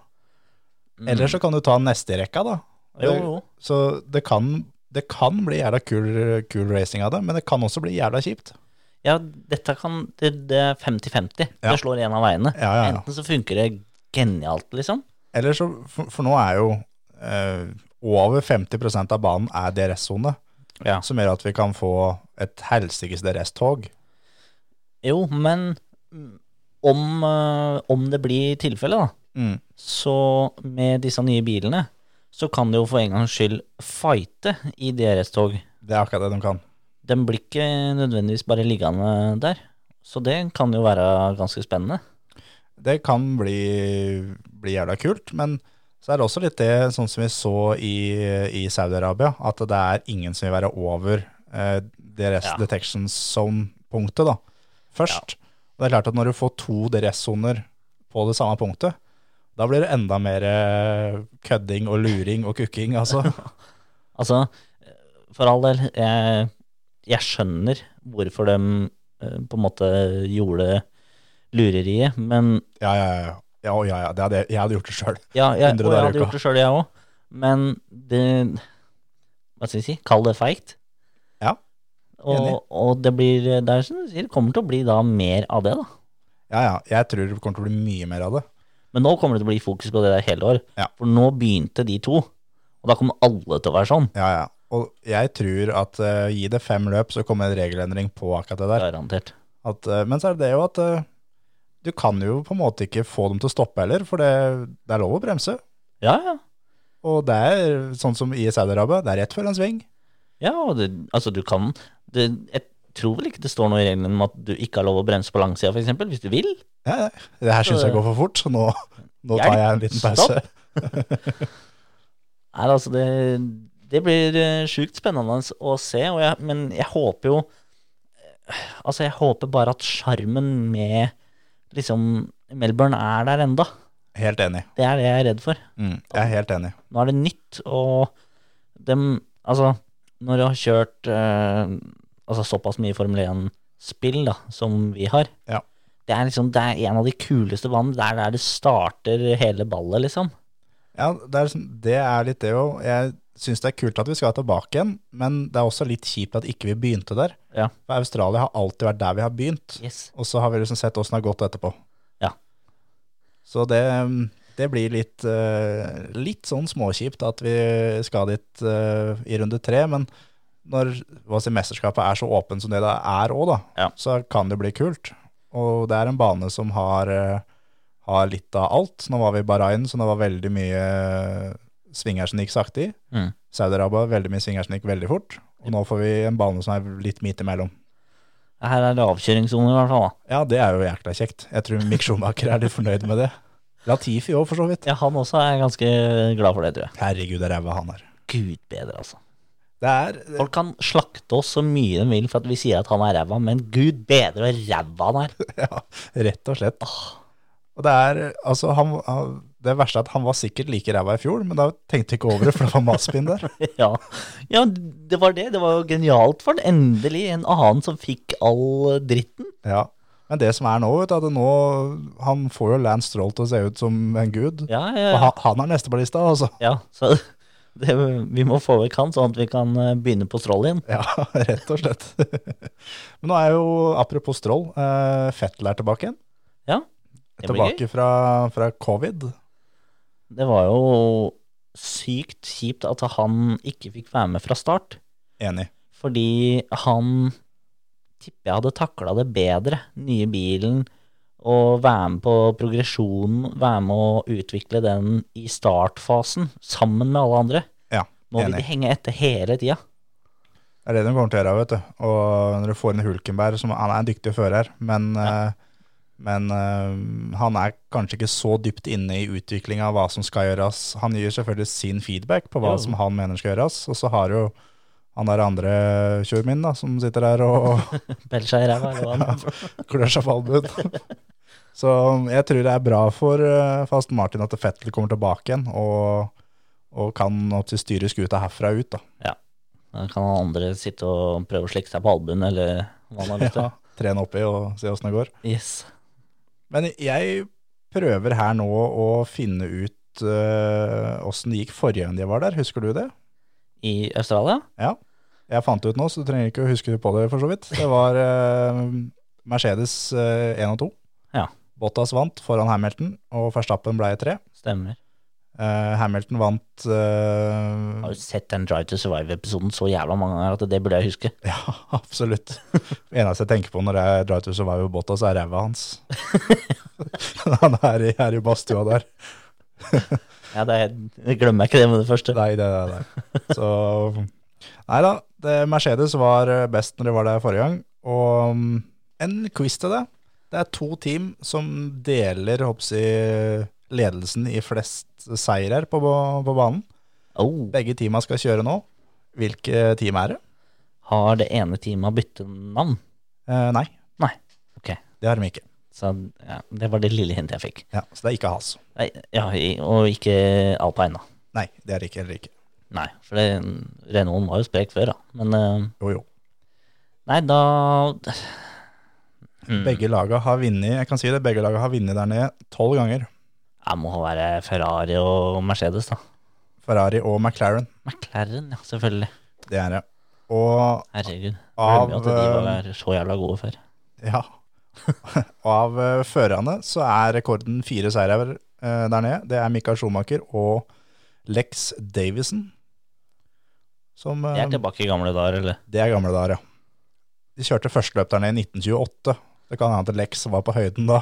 C: Eller så kan du ta neste i rekka, da.
D: Mm. Jo, jo.
C: Så det kan, det kan bli jævla kul, kul racing av det, men det kan også bli jævla kjipt.
D: Ja, dette kan Det, det er 50-50.
C: Ja.
D: Det slår en av veiene.
C: Ja, ja, ja.
D: Enten så funker det genialt, liksom.
C: Eller så, for, for nå er jo eh, over 50 av banen er DRS-sone,
D: Ja.
C: som gjør at vi kan få et helsikes DRS-tog.
D: Jo, men om, eh, om det blir tilfelle, da,
C: Mm.
D: så med disse nye bilene, så kan det jo for en gangs skyld fighte i DRS-tog.
C: Det er akkurat det de kan.
D: Den blir ikke nødvendigvis bare liggende der. Så det kan jo være ganske spennende.
C: Det kan bli, bli jævla kult, men så er det også litt det, sånn som vi så i, i Saudi-Arabia, at det er ingen som vil være over eh, DRS
D: Ja.
C: detection zone-punktet da, først. Og det er klart at når du får to DRS-soner på det samme punktet, da blir det enda mer eh, kødding og luring og kukking, altså.
D: Altså, for all del, jeg, jeg skjønner hvorfor de eh, på en måte gjorde lureriet, men
C: Ja, ja, ja. Ja, ja, ja. Det hadde, jeg- jeg hadde gjort det sjøl.
D: ja, jeg,
C: 100
D: og jeg
C: dager i
D: hadde
C: uka.
D: gjort det sjøl, jeg òg. Men det Hva skal jeg si? Kall det feigt.
C: Ja,
D: Og,
C: enig.
D: og det blir det er som du sier, det kommer til å bli da mer av det, da.
C: Ja, ja. Jeg tror det kommer til å bli mye mer av det.
D: Men nå kommer det til å bli fokus på det der hele år.
C: Ja.
D: For nå begynte de to, og da kommer alle til å være sånn.
C: Ja, ja. Og jeg tror at eh, gi det fem løp, så kommer en regelendring på akkurat det der.
D: Garantert.
C: At, eh, men så er det det jo at eh, du kan jo på en måte ikke få dem til å stoppe heller, for det, det er lov å bremse.
D: Ja, ja.
C: Og det er sånn som i Saudi-Arabia, det er rett før en sving.
D: Ja, og det, altså du kan det, Jeg tror vel ikke det står noe i reglene om at du ikke har lov å bremse på langsida, f.eks., hvis du vil.
C: Ja, ja. det her syns jeg går for fort, så nå, nå tar jeg en liten pause.
D: Stopp. Nei, altså det, det blir eh, sjukt spennende å se, og jeg, men jeg håper jo eh, Altså, jeg håper bare at sjarmen med liksom Melbourne er der enda.
C: Helt enig.
D: Det er det jeg er redd for.
C: Mm, jeg er helt enig.
D: Nå er det nytt, og dem Altså, når du har kjørt eh, altså såpass mye Formel 1-spill da, som vi har
C: Ja.
D: Det er liksom, det er en av de kuleste vann. Det er der det starter hele ballet, liksom.
C: Ja, det er, sånn- det er litt det òg. Jeg syns det er kult at vi skal tilbake igjen, men det er også litt kjipt at ikke vi begynte der.
D: Ja.
C: For Australia har alltid vært der vi har begynt.
D: Yes.
C: Og så har vi liksom sett åssen det har gått etterpå.
D: Ja.
C: Så det, det blir litt, eh, litt sånn småkjipt at vi skal dit eh, i runde tre, men når hva si, mesterskapet er så åpen som det det er òg, da,
D: Ja.
C: så kan det bli kult. Og det er en bane som har, eh, har litt av alt. Nå var vi i Bahrain, så det var veldig mye svinger som gikk sakte i.
D: Mm.
C: Saudi-Arabia, veldig mye svinger som gikk veldig fort. Og nå får vi en bane som er litt midt imellom.
D: Her er det avkjøringssone, i hvert fall. da.
C: Ja, det er jo jækla kjekt. Jeg tror Mick Schumacher er litt fornøyd med det. Latifi òg, for så vidt.
D: Ja, han også er ganske glad for det, tror jeg.
C: Herregud, det er ræva han er.
D: Gud bedre, altså.
C: Det er [laughs]
D: Folk kan slakte oss så mye de vil for at vi sier at han er ræva, men gud bedre hvor ræva han er.
C: ja, rett og slett. Og det er altså han, han, Det verste er at han var sikkert like ræva i fjor, men da tenkte jeg ikke over det, for det var Maspin
D: [laughs]
C: der.
D: [laughs] Ja. ja, det var det. Det var jo genialt for han. Endelig en annen som fikk all dritten.
C: Ja. Men det som er nå, vet du, at nå Han får jo Lance Stroll til å se ut som en gud.
D: Ja, ja,
C: Og
D: ja.
C: han, han er neste på lista, altså. [laughs]
D: ja så [laughs] det, vi må få vekk han, sånn at vi kan eh, begynne på strål igjen.
C: Ja, rett og slett. [laughs] Men nå er jo, apropos Stroll, eh, Fettel er tilbake igjen.
D: Ja, det blir gøy.
C: Tilbake fra, fra covid.
D: Det var jo sykt kjipt at han ikke fikk være med fra start.
C: Enig.
D: Fordi han tipper jeg hadde takla det bedre, nye bilen, og være med på progresjonen, være med å utvikle den i startfasen, sammen med alle andre.
C: Ja,
D: Nå vil
C: enig.
D: de henge etter hele tida.
C: Det er det de kommer til å gjøre, vet du. Og når du får inn Hulkenberg, som han er en dyktig fører, men, eh, men eh, han er kanskje ikke så dypt inne i utviklinga av hva som skal gjøres. Han gir selvfølgelig sin feedback på hva
D: Jo.
C: som han mener skal gjøres, og så har jo han der andre tjuven min da, som sitter der og [laughs]
D: Peller seg i ræva. eller hva det var.
C: klør seg på albuen. [laughs] Så um, jeg tror det er bra for eh, for Aston Martin at Fettel kommer tilbake igjen og, og kan opp til styre skuta herfra ut. da.
D: Da kan han andre sitte og prøve å slikke seg på albuen, eller hva han har lyst til.
C: Ja, trene oppi og se åssen det går.
D: Yes.
C: Men jeg prøver her nå å finne ut eh, åssen det gikk forrige gang de var der. Husker du det?
D: I Australia?
C: Ja. Jeg fant det ut nå, så du trenger ikke å huske på det for så vidt. Det var eh, Mercedes eh, 1 og 2.
D: Ja.
C: Bottas vant foran Hamilton, og Verstappen ble 3.
D: Stemmer.
C: Eh, Hamilton vant eh,
D: Har du sett den Drive to Survive-episoden så jævla mange ganger at det burde jeg huske?
C: [laughs] Ja, absolutt. Det eneste jeg tenker på når jeg drar til Survivor Bottas, er ræva hans. [laughs] Han er i, er i badstua der.
D: Ja, det er, jeg glemmer ikke det med det første.
C: [laughs] Nei, det er det. Så Nei da. Det, Mercedes var eh, best når de var der forrige gang. Og mm, en quiz til det. Det er to team som deler håper jeg, ledelsen i flest seirer på, på banen.
D: Oh,
C: Begge teama skal kjøre nå. Hvilke team er det?
D: har det ene teamet byttet navn?
C: Eh, nei,
D: Nei. Ok.
C: det har de ikke.
D: Så ja, det var det lille hintet jeg fikk.
C: Ja, så det er ikke Has.
D: Nei, ja, i- og ikke alpine, da.
C: Nei, det er det ikke heller ikke.
D: Nei, for det, Renaulten var jo sprek før, da. Men eh,
C: Jo, jo.
D: nei, da
C: Begge laga har vunnet jeg kan si det, begge laga har vunnet der nede tolv ganger.
D: Jeg må være Ferrari og Mercedes, da.
C: Ferrari og McLaren.
D: McLaren, ja, selvfølgelig.
C: Det er det. Og
D: Herregud.
C: Av,
D: Glemmer jo at de var så jævla gode før.
C: Ja. [laughs] Og av eh, førerne så er rekorden fire seire eh, der nede. Det er Mikael Schumacher og Lex Davison. Som
D: De
C: eh,
D: er tilbake i gamle dager, eller?
C: Det er gamle dager, ja. De kjørte førsteløp der nede i 1928. Det kan hende at Lex var på høyden da.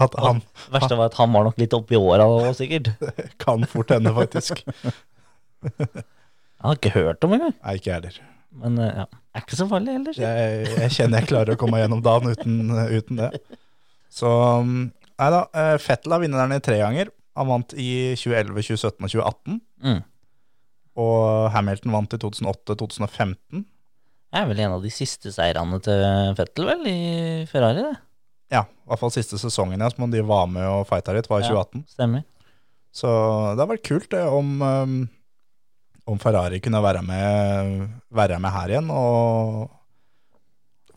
C: at han
D: Verste var at han var nok litt oppi åra da, sikkert. Jeg
C: kan fort hende, faktisk.
D: har ikke hørt om engang.
C: Nei, ikke jeg heller.
D: Men eh, ja, er ikke så farlig heller. si.
C: Jeg, jeg kjenner jeg klarer å komme meg gjennom dagen uten, uten det. Så mm, Nei da. eh, Fettel har vunnet der nede tre ganger. Han vant i 2011, 2017 og 2018.
D: Mm.
C: Og Hamilton vant i 2008, 2015.
D: Det er vel en av de siste seirene til Fettel, vel, i Ferrari, det.
C: Ja, i hvert fall siste sesongen ja, som de var med og fighta litt, var i
D: Ja.
C: 2018.
D: Stemmer.
C: Så det har vært kult det, om, um, om Ferrari kunne være med, være med her igjen. Og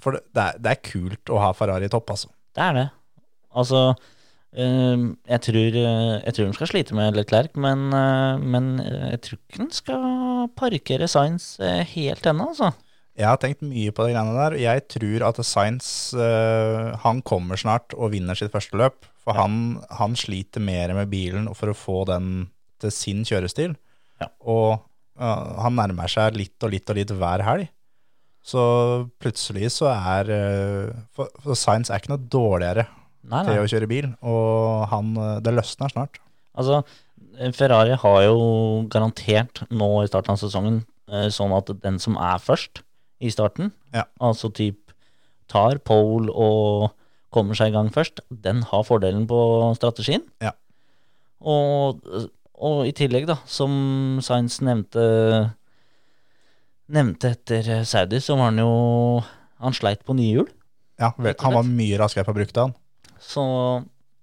C: for det, det, er, det er kult å ha Ferrari i topp, altså.
D: Det er det. Altså, øhm, jeg tror, øh, jeg tror hun skal slite med Leclerc, men, øh, men øh, jeg tror ikke hun skal parkere Sainz øh, helt ennå, altså.
C: Jeg har tenkt mye på de greiene der. og Jeg tror at Science han kommer snart og vinner sitt første løp. For han, han sliter mer med bilen for å få den til sin kjørestil.
D: Ja.
C: Og ja, han nærmer seg litt og litt og litt hver helg. Så plutselig så er eh, For, for Science er ikke noe dårligere
D: Nei, nei.
C: til å kjøre bil, og han, eh, det løsner snart.
D: Altså, eh, Ferrari har jo garantert nå i starten av sesongen eh, sånn at den som er først i starten,
C: Ja.
D: altså typ tar pole og kommer seg i gang først, den har fordelen på strategien.
C: Ja.
D: Og, og i tillegg, da, som Sainz nevnte Nevnte etter Saudi, så var han jo Han sleit på nye hjul.
C: Ja, vel, han var mye raskere på brukte, han.
D: Så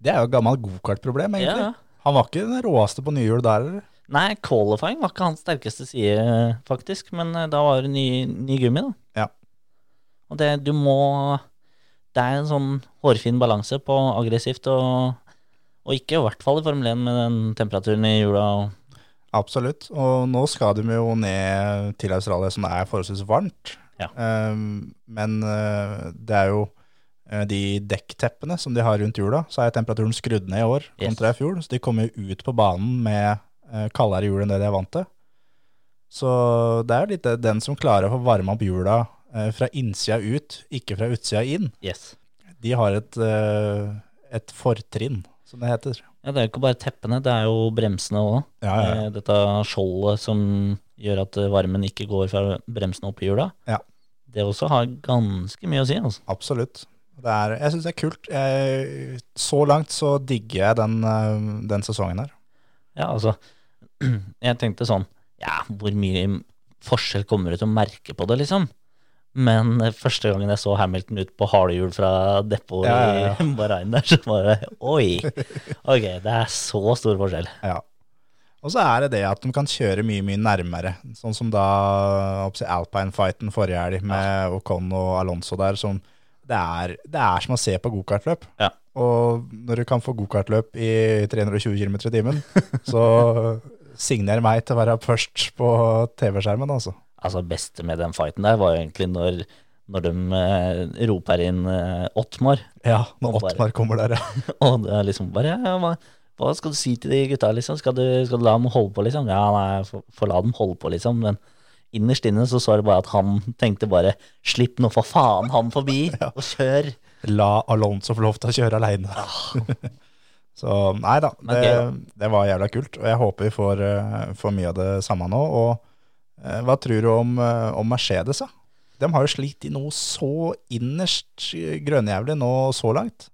C: Det er jo et gammelt gokartproblem,
D: ja,
C: egentlig.
D: ja.
C: Han var ikke den råeste på nye hjul der, eller?
D: Nei, qualifying var ikke hans sterkeste side, faktisk. Men eh, da var det ny, ny gummi, da.
C: Ja.
D: Og det, du må Det er en sånn hårfin balanse på aggressivt og, og ikke, i hvert fall i Formel 1 med den temperaturen i jula. Og,
C: Absolutt. Og nå skal de jo ned til Australia, som er forholdsvis varmt.
D: Ja.
C: Ehm, men eh, det er jo eh, de dekkteppene som de har rundt hjula, så er temperaturen skrudd ned i år
D: Yes.
C: kontra i fjor. Så de kommer jo ut på banen med eh, kaldere hjul enn det de er vant til. Så det er litt det- den som klarer å få varma opp hjula eh, fra innsida ut, ikke fra utsida inn.
D: Yes.
C: De har et, eh, et fortrinn, som det heter.
D: Ja, det er jo ikke bare teppene, det er jo bremsene òg.
C: Ja, ja, ja.
D: Dette skjoldet som gjør at eh, varmen ikke går fra bremsene opp i hjula.
C: Ja.
D: Det også har ganske mye å si, altså.
C: Absolutt. Det er, jeg syns det er kult. Jeg, så langt så digger jeg den, eh, den sesongen her.
D: Ja, altså. [clears throat] Jeg tenkte sånn, ja, hvor mye forskjell kommer det til å merke på det, liksom? Men eh, første gangen jeg så Hamilton ut på halehjul fra depot
C: Ja, ja, ja.
D: i [laughs] Bahrain der, så bare Oi! Ok, det er så stor forskjell.
C: Ja. Og så er det det at de kan kjøre mye, mye nærmere. Sånn som da oppsi, Alpine-fighten forrige helg med Ocon og Alonso der. Som det, er, det er som å se på gokartløp.
D: Ja.
C: Og når du kan få gokartløp i 320 km i
D: [laughs]
C: timen, så signer meg til å være først på TV-skjermen, altså.
D: Altså, beste med den fighten der var jo egentlig når, når de eh, roper inn eh, Ottmar.
C: Ja, når
D: Og bare-
C: Ottmar kommer der, ja.
D: [laughs] Og det er liksom bare ja, hva, hva skal du si til de gutta, liksom? Skal du, skal du la dem holde på, liksom? Ja, nei, få få la dem holde på, liksom. Men innerst inne så så det bare at han tenkte bare Slipp nå for faen han forbi, og kjør!
C: La Alonso få lov til å kjøre aleine. [laughs] Så nei da,
D: Ah. Men
C: det,
D: gøy,
C: det var jævla kult. Og jeg håper vi får, eh, får mye av det samme nå. Og eh, hva tror du om, eh, om Mercedes, da? De har jo slitt i noe så innerst eh, grønnjævlig nå så langt.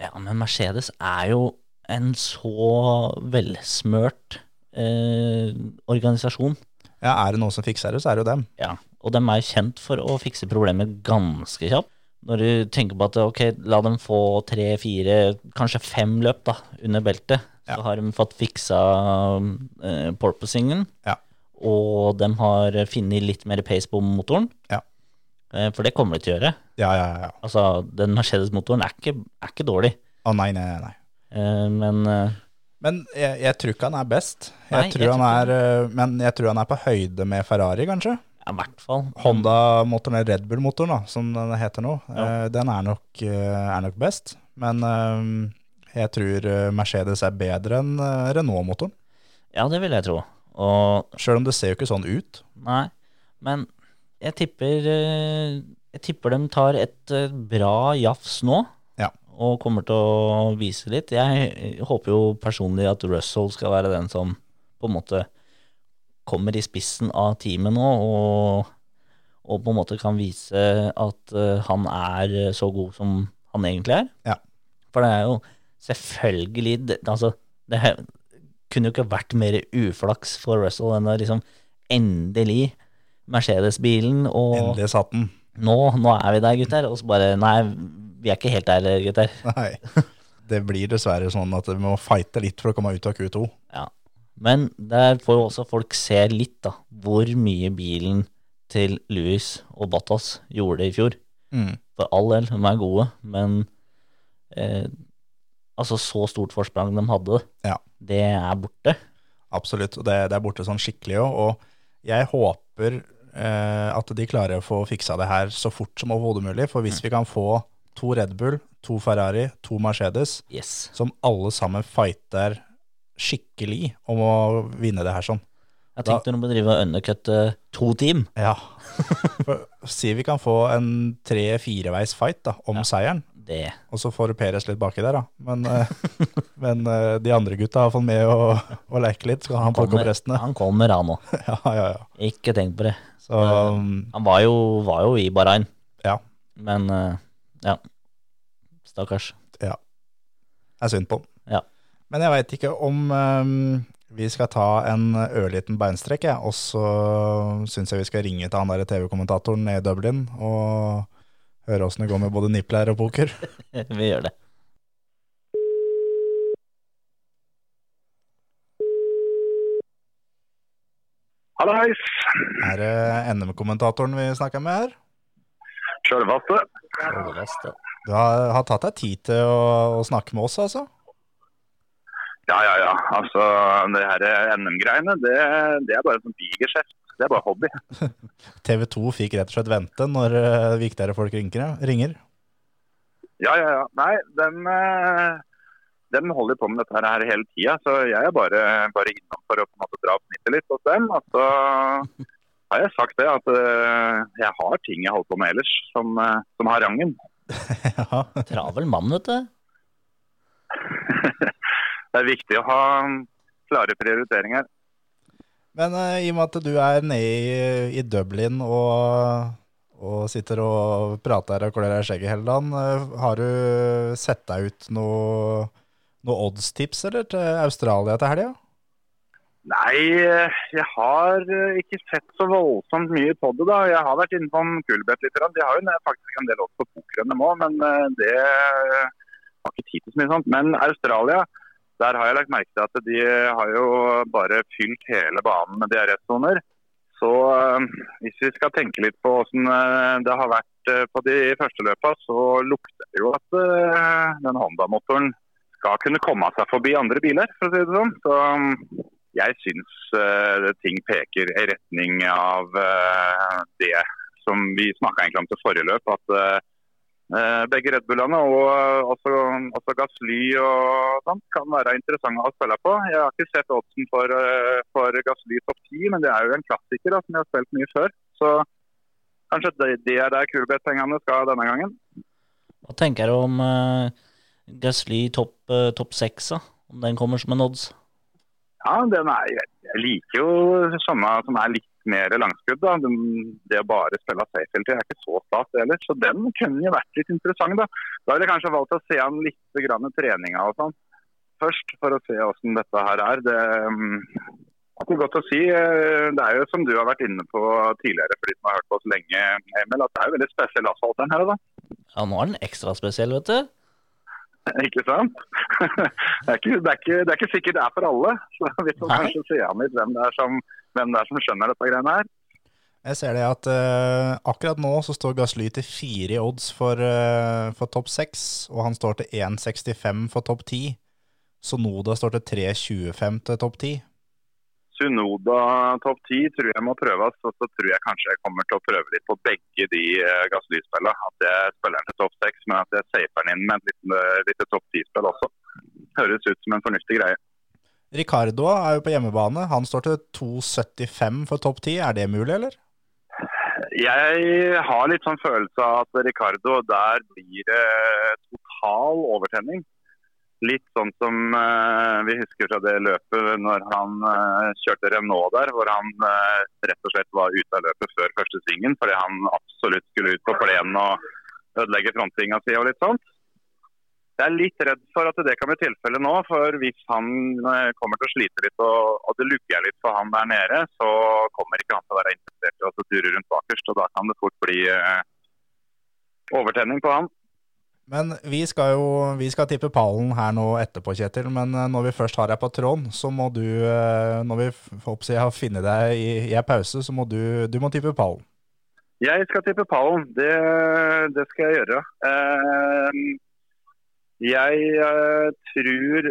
D: Ja, men Mercedes er jo en så velsmørt eh, organisasjon.
C: Ja, Er det noen som fikser det, så er det jo dem.
D: Ja, og de er jo kjent for å fikse problemer ganske kjapt. Når du tenker på at ok, la dem få tre, fire, kanskje fem løp da, under beltet,
C: Ja.
D: så har de fått fiksa eh, porpoisingen,
C: Ja.
D: og de har funnet litt mer pace på motoren.
C: Ja.
D: Eh, for det kommer de til å gjøre.
C: Ja, ja, ja. ja.
D: Altså, den Mercedes-motoren er, ikke- er ikke dårlig,
C: Å nei, nei, nei, nei.
D: eh, men eh,
C: Men jeg, jeg tror ikke han er best. Jeg
D: Nei,
C: tror
D: jeg
C: han
D: tror
C: er, eh, men jeg tror han er på høyde med Ferrari, kanskje.
D: ja, i hvert fall.
C: Honda-motoren, eller Red Bull-motoren, da, som den heter nå, eh, den er nok, eh, er nok best. Men eh, jeg tror eh, Mercedes er bedre enn eh, Renault-motoren.
D: Ja, det vil jeg tro. Og
C: Sjøl om det ser jo ikke sånn ut.
D: Nei, men jeg tipper eh, Jeg tipper de tar et eh, bra jafs nå.
C: Ja.
D: Og kommer til å vise litt. Jeg håper jo personlig at Russell skal være den som på en måte kommer i spissen av teamet nå, og, og på en måte kan vise at eh, han er så god som han egentlig er.
C: Ja.
D: For det er jo selvfølgelig det- Altså, det he- kunne jo ikke vært mer uflaks for Russell enn å liksom endelig Mercedes-bilen, og
C: Endelig satt den. [laughs]
D: Nå, nå er vi der, gutter. Og så bare Nei, vi er ikke helt der, gutter.
C: Nei. Det blir dessverre sånn at vi må fighte litt for å komme ut av Q2.
D: Ja. Men der får jo også folk se litt, da, hvor mye bilen til Louis og Bottas gjorde i fjor.
C: Mm.
D: For all del, de er gode, men eh, altså, så stort forsprang de hadde,
C: Ja.
D: det er borte.
C: Absolutt. Og det, det er borte sånn skikkelig òg. Og jeg håper eh, at de klarer å få fiksa det her så fort som overhodet mulig. For hvis vi kan få to Red Bull, to Ferrari, to Mercedes,
D: Yes.
C: som alle sammen fighter skikkelig om å vinne det her sånn.
D: Jeg
C: Da-
D: tenkte de må drive og undercutte to team.
C: Ja. [laughs] For, si vi kan få en tre-fireveis fight da, om seieren,
D: Det
C: og så får Peres litt baki der, da. Men, eh, [laughs] men eh, de andre gutta har fått med å, å leke litt, så kan han plukke opp
D: kommer,
C: restene.
D: han kommer, han òg.
C: [laughs] Ja, ja, ja.
D: Ikke tenk på det.
C: Så um,
D: Han var jo, var jo i Bahrain.
C: ja,
D: Men eh, ja. Stakkars. [laughs]
C: det er synd på han.
D: Ja.
C: Men jeg veit ikke om eh, vi skal ta en ørliten beinstrekk, jeg. Og så syns jeg vi skal ringe til han der TV-kommentatoren i Dublin og høre åssen det går med både nippler og poker.
D: Vi gjør det.
E: Hallais.
C: Er det NM-kommentatoren vi snakker med her?
E: Sjølvaste.
D: Overraskende.
C: Du har, har tatt deg tid til å, å snakke med oss, altså?
E: Ja, ja, ja. Altså, det her eh, NM-greiene, det, det er bare en sånn bigerskjeft. Det er bare hobby.
C: TV 2 fikk rett og slett vente når eh, viktigere folk ringer. [laughs] ringer.
E: Ja, ja, ja. Nei, dem, eh, dem holder på med dette her hele tida. Så jeg er bare, bare innom for å på en måte dra opp snittet litt hos dem. Og så har jeg sagt det, at eh, jeg har ting jeg holder på med ellers som, eh, som har rangen.
C: Ja.
D: Travel mann, vet du.
E: Det er viktig å ha klare prioriteringer.
C: Men eh, i og med at du er nede i, i Dublin og, og sitter og prater og klør deg i skjegget hele dagen, eh, har du sett deg ut noe, noe oddstips eller til Australia til helga?
E: Nei, eh, jeg har eh, ikke sett så voldsomt mye på det. da. Jeg har vært innom Kulbeth litt. grann. De har jo ne- faktisk en del odds på pokeren dem òg, men eh, det eh, har ikke tid til så mye sånt. Men Australia, der har jeg lagt merke til at de har jo bare fylt hele banen med DRS-soner. Så eh, hvis vi skal tenke litt på åssen eh, det har vært eh, på de første løpa, så lukter det jo at eh, den Honda-motoren skal kunne komme seg forbi andre biler, for å si det sånn. Så... mm, jeg syns eh, ting peker i retning av eh, det som vi snakka egentlig om til forrige løp. At eh, begge Red Bullene og eh, også, også Gasly og sånt kan være interessante å spille på. Jeg har ikke sett oddsen for, eh, for Gasly topp 10, men det er jo en klassiker da, som jeg har spilt mye før. Så kanskje det, det er der Kulbeth-pengene skal denne gangen.
D: Hva tenker du om eh, Gasly topp eh, topp seks, da? Om den kommer som en odds?
E: Ja, den er, jeg liker jo sånne som er litt mer langskudd. Da. Den- Det å bare spille safehelter er ikke så stas heller. Så den kunne jo vært litt interessant. Da Da ville jeg kanskje valgt å se an litt grann treninga og sånn først, for å se hvordan dette her er. Det, um, det er godt å si. eh, Det er jo som du har vært inne på tidligere, for de som har hørt på oss lenge, Emil, at det er jo veldig spesiell asfalt den her. da.
D: Ja, nå er den ekstra spesiell, vet du.
E: [laughs] Ikke sant? Det er ikke, det er ikke, det er ikke sikkert det er for alle. [laughs] Så vi får
D: Nei.
E: kanskje se an litt hvem det er som, hvem det er som skjønner dette greiene her.
C: Jeg ser det at eh, akkurat nå så står Gasly til fire i odds for, eh, for topp seks, og han står til 1,65 for topp ti. Så Noda står til 3,25 til topp ti.
E: Sunoda topp 10 tror jeg må prøves, og så tror jeg kanskje jeg kommer til å prøve litt på begge de eh, gasslysspillene. At jeg spiller den til topp 6, men at jeg safer den inn med et lite, lite topp 10-spill også. Høres ut som en fornuftig greie.
C: Ricardo er jo på hjemmebane. Han står til 2,75 for topp ti. Er det mulig, eller?
E: Jeg har litt sånn følelse av at Ricardo, der blir det total overtenning. Litt sånn som eh, vi husker fra det løpet når han eh, kjørte Renault der, hvor han eh, rett og slett var ute av løpet før første svingen fordi han absolutt skulle ut på plenen og ødelegge frontvinga si og litt sånt. Jeg er litt redd for at det kan bli tilfellet nå, for hvis han eh, kommer til å slite litt og, og det lugger litt for han der nede, så kommer ikke han til å være interessert i å ture rundt bakerst, og da kan det fort bli eh, overtenning på han.
C: Men vi skal jo vi skal tippe pallen her nå etterpå, Kjetil. Men eh, når vi først har deg på tråden, så må du eh, Når vi f- håper jeg, har funnet deg i, i en pause, så må du, du må tippe pallen.
E: Jeg skal tippe pallen. Det, det skal jeg gjøre. Eh, jeg eh, tror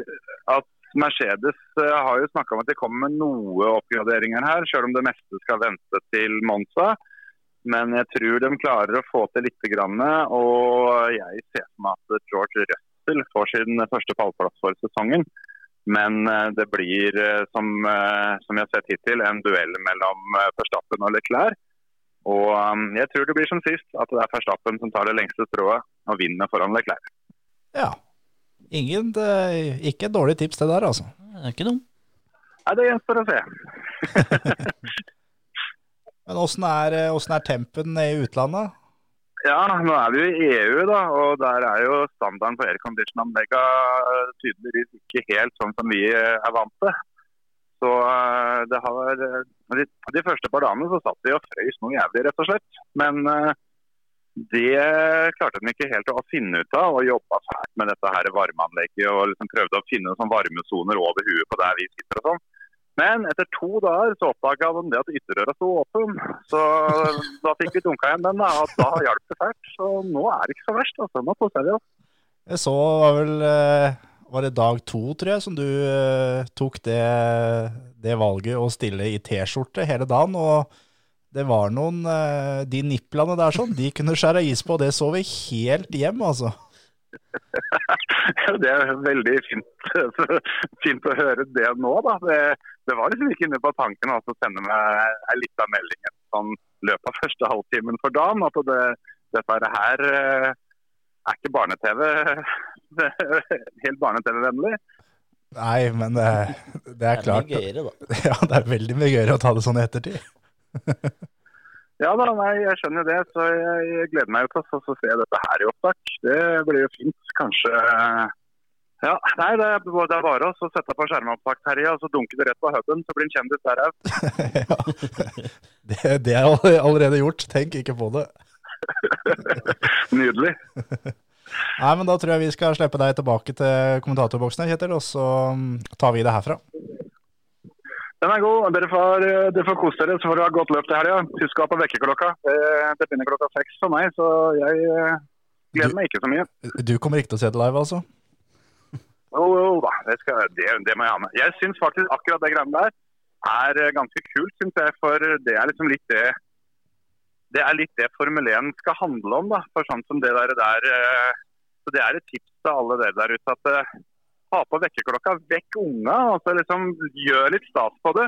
E: at Mercedes eh, har jo snakka om at de kommer med noe oppgraderinger her, selv om det meste skal vente til Monza. Men jeg tror de klarer å få til lite grann. Og jeg ser for meg at George Russell får sin første pallplass for sesongen. Men eh, det blir, eh, som, eh, som jeg har sett hittil, en duell mellom eh, Verstappen og Leclerc. Og um, jeg tror det blir som sist, at det er Verstappen som tar det lengste strået og vinner foran Leclerc.
C: Ja. Ingen, eh, ikke et dårlig tips, det der, altså.
D: Det er ikke dum.
E: Nei, det gjenstår å se.
C: Men åssen er, eh, åssen er tempen nede i utlandet?
E: Ja, nå er vi jo i EU, da, og der er jo standarden på aircondition-anlegga eh, tydeligvis ikke helt sånn som vi eh, er vant til. Så eh, det har eh, de, de første par dagene så satt de og frøys noe jævlig, rett og slett. Men eh, det klarte de ikke helt å finne ut av, og jobba fælt med dette her varmeanlegget og liksom prøvde å finne sånn varmesoner over huet på der vi sitter og sånn. Men etter to dager så oppdaga de det at ytterdøra sto åpen. Så da fikk vi dunka igjen den, da, og da hjalp det fælt. Så nå er det ikke så verst. altså. Nå koser vi oss. [laughs]
C: Jeg så var vel eh, Var det dag to, tror jeg, som du eh, tok det, det valget å stille i T-skjorte hele dagen. Og det var noen eh, De niplene der sånn, de kunne skjære is på. Det så vi helt hjem, altså.
E: Det er veldig fint, [laughs] fint å høre det nå, da. Det, det var liksom ikke inne på tanken altså, å sende meg ei lita melding etter sånn løpet av første halvtimen for dagen. At det, dette her eh, er ikke barne-TV. [laughs] Det er Helt barne-TV-vennlig.
C: Nei, men det, det er klart.
D: Det er mye gøyere, da.
C: [laughs] Ja, det er veldig mye gøyere å ta det sånn i ettertid. [laughs]
E: Ja da, nei, jeg skjønner det. Så jeg, jeg gleder meg jo til å få- få se dette her i opptak. Det blir jo fint. Kanskje Ja, nei, det er det er bare å så sette på skjermopptak, Terje, og så dunke det rett på huben, så blir en kjendis der òg.
C: ja. det, det er all- allerede gjort. Tenk ikke på det.
E: Nydelig.
C: Nei, men Da tror jeg vi skal slippe deg tilbake til kommentatorboksen, her, Kjetil, og så mm, tar vi det herfra.
E: Den er god. Dere får, dere får kose dere, så får dere ha godt løp til helga. Husk å ha på vekkerklokka. Eh, Det begynner klokka seks for meg, så jeg eh, gleder meg ikke så mye.
C: Du kommer ikke til å se det live, altså?
E: Jo, jo da, det, skal, det, det må jeg ha med. Jeg syns faktisk akkurat det greiene der er eh, ganske kult, syns jeg. For det er liksom litt det Det er litt det Formel 1 skal handle om, da. For sånn som det der, der eh, Så det er et tips til alle dere der ute at eh, ha på vekkerklokka, vekk unga. Altså liksom gjør litt stas på det.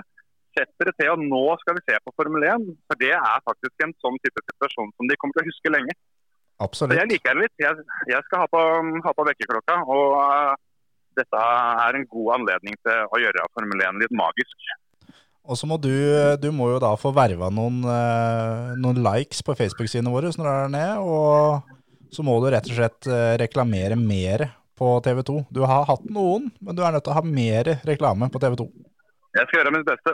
E: Sett dere til, og nå skal vi se på Formel 1. For det er faktisk en sånn type situasjon som de kommer til å huske lenge. Så
C: Absolutt.
E: Jeg liker det litt. Jeg, jeg skal ha på, ha på vekkerklokka. Og eh, dette er en god anledning til å gjøre Formel 1 litt magisk.
C: Og så må du, du må jo da få verva noen, eh, noen likes på Facebook-sidene våre når du er der nede, og så må du rett og slett eh, reklamere mer på TV 2. Du har hatt noen, men du er nødt til å ha mer reklame på TV 2.
E: Jeg skal gjøre mitt beste.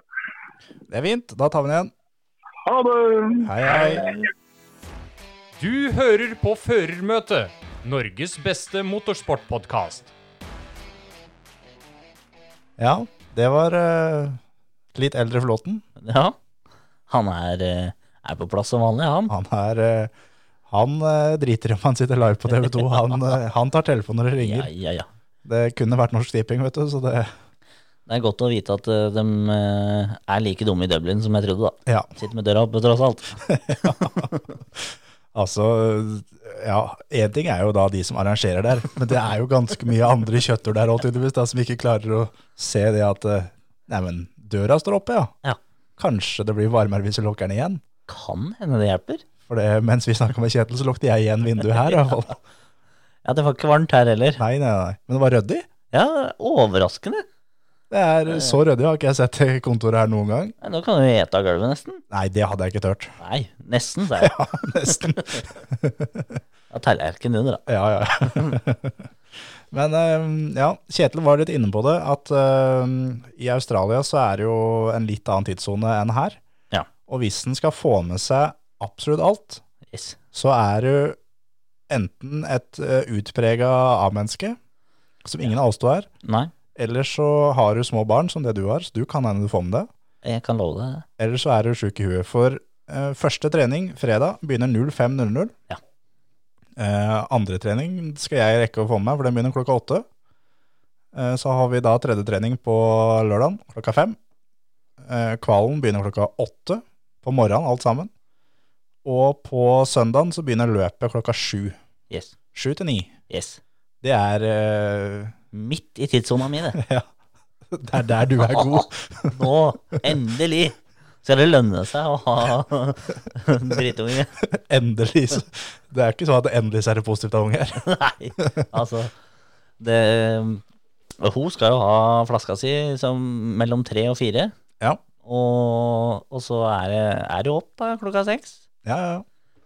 C: Det er fint. Da tar vi den igjen.
E: Ha det!
C: Hei, hei.
F: Du hører på Førermøtet, Norges beste motorsportpodkast.
C: Ja, det var eh, litt eldre Flåten.
D: Ja. Han er, eh, er på plass som vanlig, han.
C: Han er eh, han eh, driter i om han sitter live på TV 2. Han, eh, han tar telefonen når det ringer.
D: Ja, ja, ja.
C: Det kunne vært Norsk Tipping, vet du, så det
D: Det er godt å vite at eh, de eh, er like dumme i Dublin som jeg trodde, da.
C: Ja.
D: Sitter med døra oppe, tross alt.
C: [laughs] Altså, ja, én ting er jo da de som arrangerer der, men det er jo ganske mye andre kjøtter der òg, tydeligvis, da, som ikke klarer å se det at eh, Nei, men døra står oppe, ja.
D: Ja.
C: Kanskje det blir varmere hvis vi lukker den igjen?
D: Kan hende det hjelper.
C: For det, mens vi snakka med Kjetil, så lukket jeg igjen vinduet her. i hvert fall.
D: Ja, det var ikke varmt her heller.
C: Nei, nei, nei. Men det var ryddig.
D: Ja, overraskende.
C: Det er Så ryddig har ikke jeg sett det kontoret her noen gang.
D: Nei, Nå kan du jo ete av gulvet, nesten.
C: Nei, det hadde jeg ikke tørt. [laughs]
D: Nei, nesten, sa jeg.
C: Ja, nesten.
D: Da teller jeg ikke under, da.
C: Ja, ja. [laughs] Men eh, ja, Kjetil var litt inne på det, at eh, i Australia så er det jo en litt annen tidssone enn her.
D: Ja.
C: Og hvis en skal få med seg absolutt alt,
D: Yes.
C: så er du enten et uh, utprega A-menneske, som ingen av oss to er,
D: Nei,
C: eller så har du små barn, som det du har, så du kan hende du får med det.
D: jeg kan love deg det.
C: Eller så er du sjuk i huet. For eh, første trening fredag begynner 05.00.
D: Ja.
C: Eh, andre trening skal jeg rekke å få med meg, for den begynner klokka åtte. Eh, så har vi da tredje trening på lørdag klokka fem. Eh, kvalen begynner klokka åtte på morgenen, alt sammen. Og på søndagen så begynner løpet klokka sju.
D: Yes.
C: Sju til ni.
D: Yes.
C: Det er eh, [laughs]
D: Midt i tidssona mi, det.
C: Ja, det er der du er god.
D: Nå, endelig, skal det lønne seg å ha [laughs] drittunge.
C: Endelig. så- Det er ikke sånn at endelig så er det positivt av unger.
D: Nei, altså det, eh, Hun skal jo ha flaska si som mellom tre og fire.
C: Ja.
D: Og, og så er det, er det jo opp da, klokka seks.
C: Ja, ja.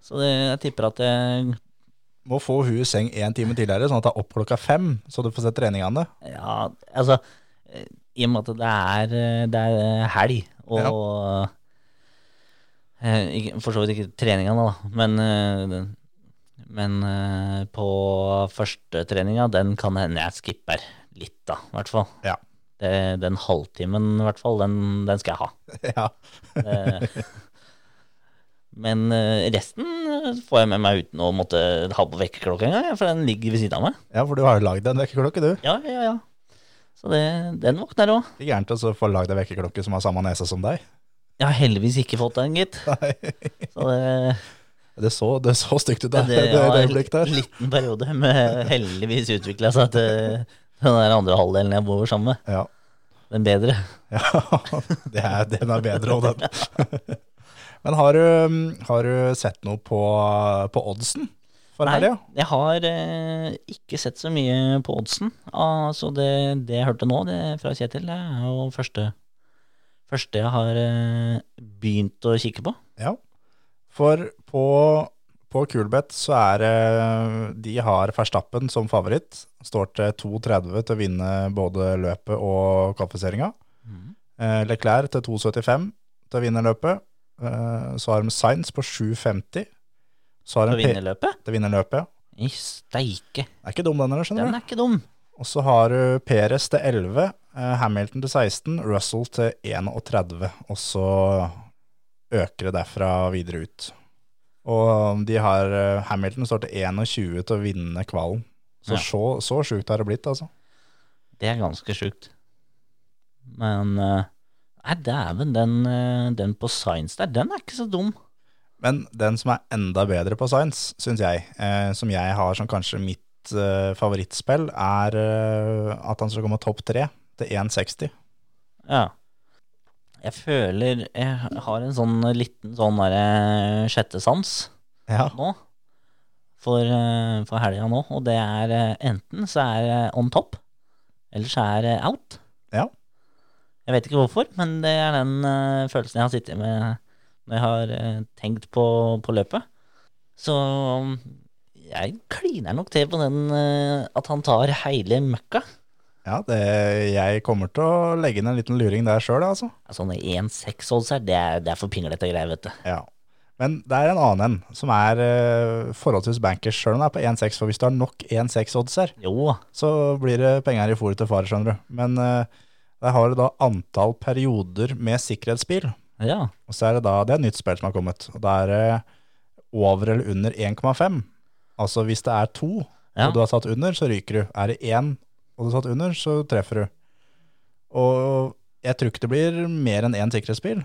D: Så det, jeg tipper at det,
C: må få hun i seng en time tidligere, sånn at det er opp klokka fem, så du får sett treningene.
D: Ja, altså eh, I og med at det er, eh, det er helg, og eh, ikke- For så vidt ikke treningene, da, men, eh, den- men eh, på førstetreninga, den kan hende jeg skipper litt, da, i hvert fall.
C: Ja.
D: Det, den halvtimen, i hvert fall, den, den skal jeg ha.
C: [laughs] Ja.
D: Eh, Men eh, resten eh, får jeg med meg uten å måtte ha på vekkerklokka engang, jeg, for den ligger ved siden av meg.
C: ja, for du har jo lagd en vekkerklokke, du.
D: Ja, ja, ja. Så det, den våkner òg.
C: Ikke gærent å så få lagd en [laughs] vekkerklokke som har samme nese som deg.
D: Jeg har heldigvis ikke fått den, gitt.
C: Nei.
D: Så det,
C: Det så, det så stygt ut, det, [laughs] det, det,
D: var
C: øyeblikket der.
D: en liten periode, men heldigvis utvikla seg til den der andre halvdelen jeg bor sammen med.
C: Ja. [laughs]
D: Den bedre.
C: Ja, det er, den er bedre òg, den. [laughs] Men har du, har du sett noe på, på oddsen for helga?
D: jeg har eh, ikke sett så mye på oddsen. Altså det, det jeg hørte nå det, fra Kjetil, det er jo første, første jeg har eh, begynt å kikke på.
C: Ja. For på, på Kulbeth så er det De har Verstappen som favoritt. Står til 2,30 til å vinne både løpet og kvalifiseringa.
D: Mm.
C: Eh, Leclerc til 2,75 til å vinne løpet. Eh, Så har de Sainz på 7,50. Så har
D: Å
C: de
D: vinne
C: P-
D: løpet?
C: til å vinne løpet, ja.
D: I steike!
C: Det er ikke dum, den heller, skjønner du.
D: Den er ikke dum.
C: Og så har du Peres til 11, eh, Hamilton til 16, Russell til 31, og så øker det derfra videre ut. Og de har eh, Hamilton står til 21 til å vinne kvalen. Så
D: Ja.
C: så, så sjukt har det blitt, altså.
D: Det er ganske sjukt. Men eh, Nei, dæven, den, eh, den på science der, den er ikke så dum.
C: Men den som er enda bedre på science, syns jeg, eh, som jeg har som kanskje mitt eh, favorittspill, er eh, at han skal komme topp tre til 1,60.
D: Ja. Jeg føler Jeg har en sånn liten sånn derre sjette sans
C: Ja.
D: nå. For, eh, for helga nå. Og det er eh, enten så er det on top, eller så er det out.
C: Ja.
D: Jeg vet ikke hvorfor, men det er den eh, følelsen jeg har sittet med når jeg har eh, tenkt på, på løpet. Så mm, jeg kliner nok til på den eh, at han tar hele møkka.
C: Ja, det, jeg kommer til å legge inn en liten luring der sjøl, altså.
D: Sånne 1-6-odds her, det er, det er for pinglete greier, vet du.
C: Ja. Men det er en annen en, som er eh, forholdsvis bankers, sjøl om det er på 1,6. For hvis du har nok 1,6-odds her,
D: Jo,
C: så blir det penger i fôret til far, skjønner du. Men eh, der har du da antall perioder med sikkerhetsbil.
D: ja.
C: Og så er det da Det er et nytt spill som har kommet. Og da er det over eller under 1,5. Altså hvis det er to,
D: Ja.
C: og du har satt under, så ryker du. Er det én, og du har satt under, så treffer du. Og jeg tror ikke det blir mer enn én sikkerhetsbil.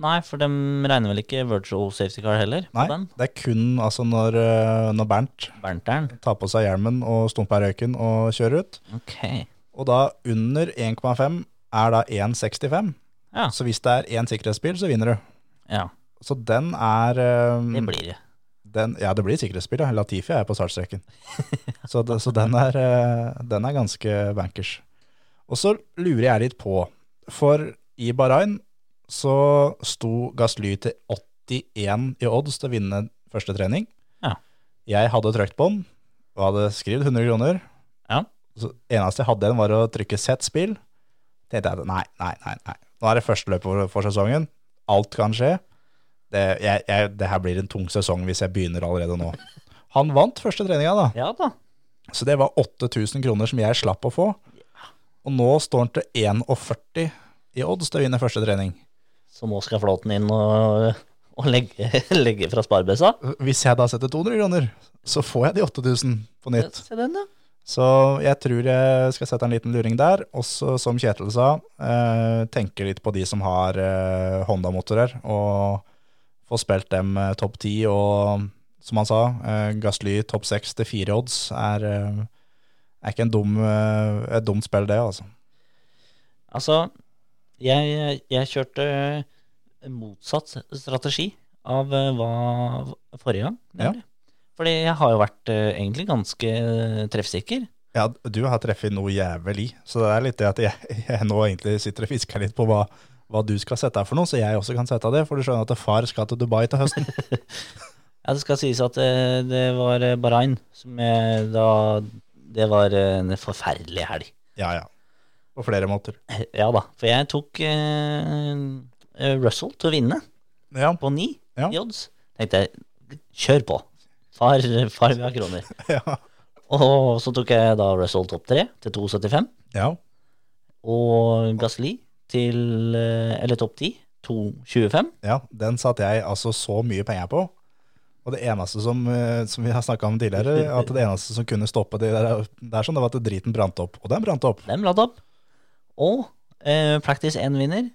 D: Nei, for de regner vel ikke virtual safety car heller? på
C: Nei,
D: den?
C: det er kun altså når, eh, når Bernt
D: Bernteren.
C: tar på seg hjelmen og stumper røyken og kjører ut.
D: Ok.
C: Og da under 1,5 er da 1,65.
D: Ja.
C: Så hvis det er én sikkerhetsbil, så vinner du.
D: Ja,
C: Så den er eh,
D: det blir det.
C: den, Ja, det blir sikkerhetsbil, ja. Latifi er på startstreken. [laughs] så det, så den, er, eh, den er ganske bankers. Og så lurer jeg litt på, for i Bahrain så sto Gasly til 81 i odds til å vinne første trening.
D: Ja.
C: Jeg hadde trykt på den, og hadde skrevet 100 kroner.
D: Ja.
C: Så eneste jeg hadde igjen var å trykke sett spill. Tenkte jeg, nei, nei, nei, nei. Nå er det første løpet for- for sesongen. Alt kan skje. Det, jeg, jeg, det her blir en tung sesong hvis jeg begynner allerede nå. Han vant første treninga da.
D: Ja da.
C: Så det var 8000 kroner som jeg slapp å få. Og nå står han til 41 i odds til å vinne første trening.
D: Så nå skal flåten inn og, og legge, [laughs] legge fra sparebøssa?
C: Hvis jeg da setter 200 kroner, så får jeg de 8000 på nytt.
D: Se den, ja.
C: Så jeg tror jeg skal sette en liten luring der. Og så, som Kjetil sa, eh, tenke litt på de som har eh, Honda-motorer, og få spilt dem eh, topp ti. Og som han sa, eh, Gasly topp seks til fire odds er, eh, er ikke en dum, eh, et dumt spill, det, altså.
D: Altså, jeg, jeg kjørte motsatt strategi av eh, hva forrige gang, nemlig. Fordi jeg har jo vært eh, egentlig ganske eh, treffsikker.
C: Ja, du har treffet noe jævlig, så det er litt det at jeg, [laughs] jeg nå egentlig sitter og fisker litt på hva, hva du skal sette her for noe, så jeg også kan sette det, for du skjønner at far skal til Dubai til høsten.
D: Ja, det skal sies at eh, det var eh, Bahrain som jeg da Det var eh, en forferdelig
C: [laughs]
D: helg. [laughs]
C: Ja, ja. På flere måter.
D: Ja da. For jeg tok eh, eh, Russell til å vinne
C: Ja,
D: på ni
C: Ja.
D: i odds. Tenkte jeg, kjør på. Far, [laughs] far vil ha kroner.
C: [laughs] ja.
D: Og så tok jeg da Russell topp tre til 2,75.
C: Ja,
D: Og Gasli til eh, Eller topp ti 2,25.
C: ja den satte jeg altså så mye penger på. Og det eneste som, eh, som vi har snakka om tidligere, at det eneste som kunne stoppe det der, det er sånn, det var at driten brant opp. Og den brant opp.
D: Dem ladd opp. Og eh, Practice 1-vinner,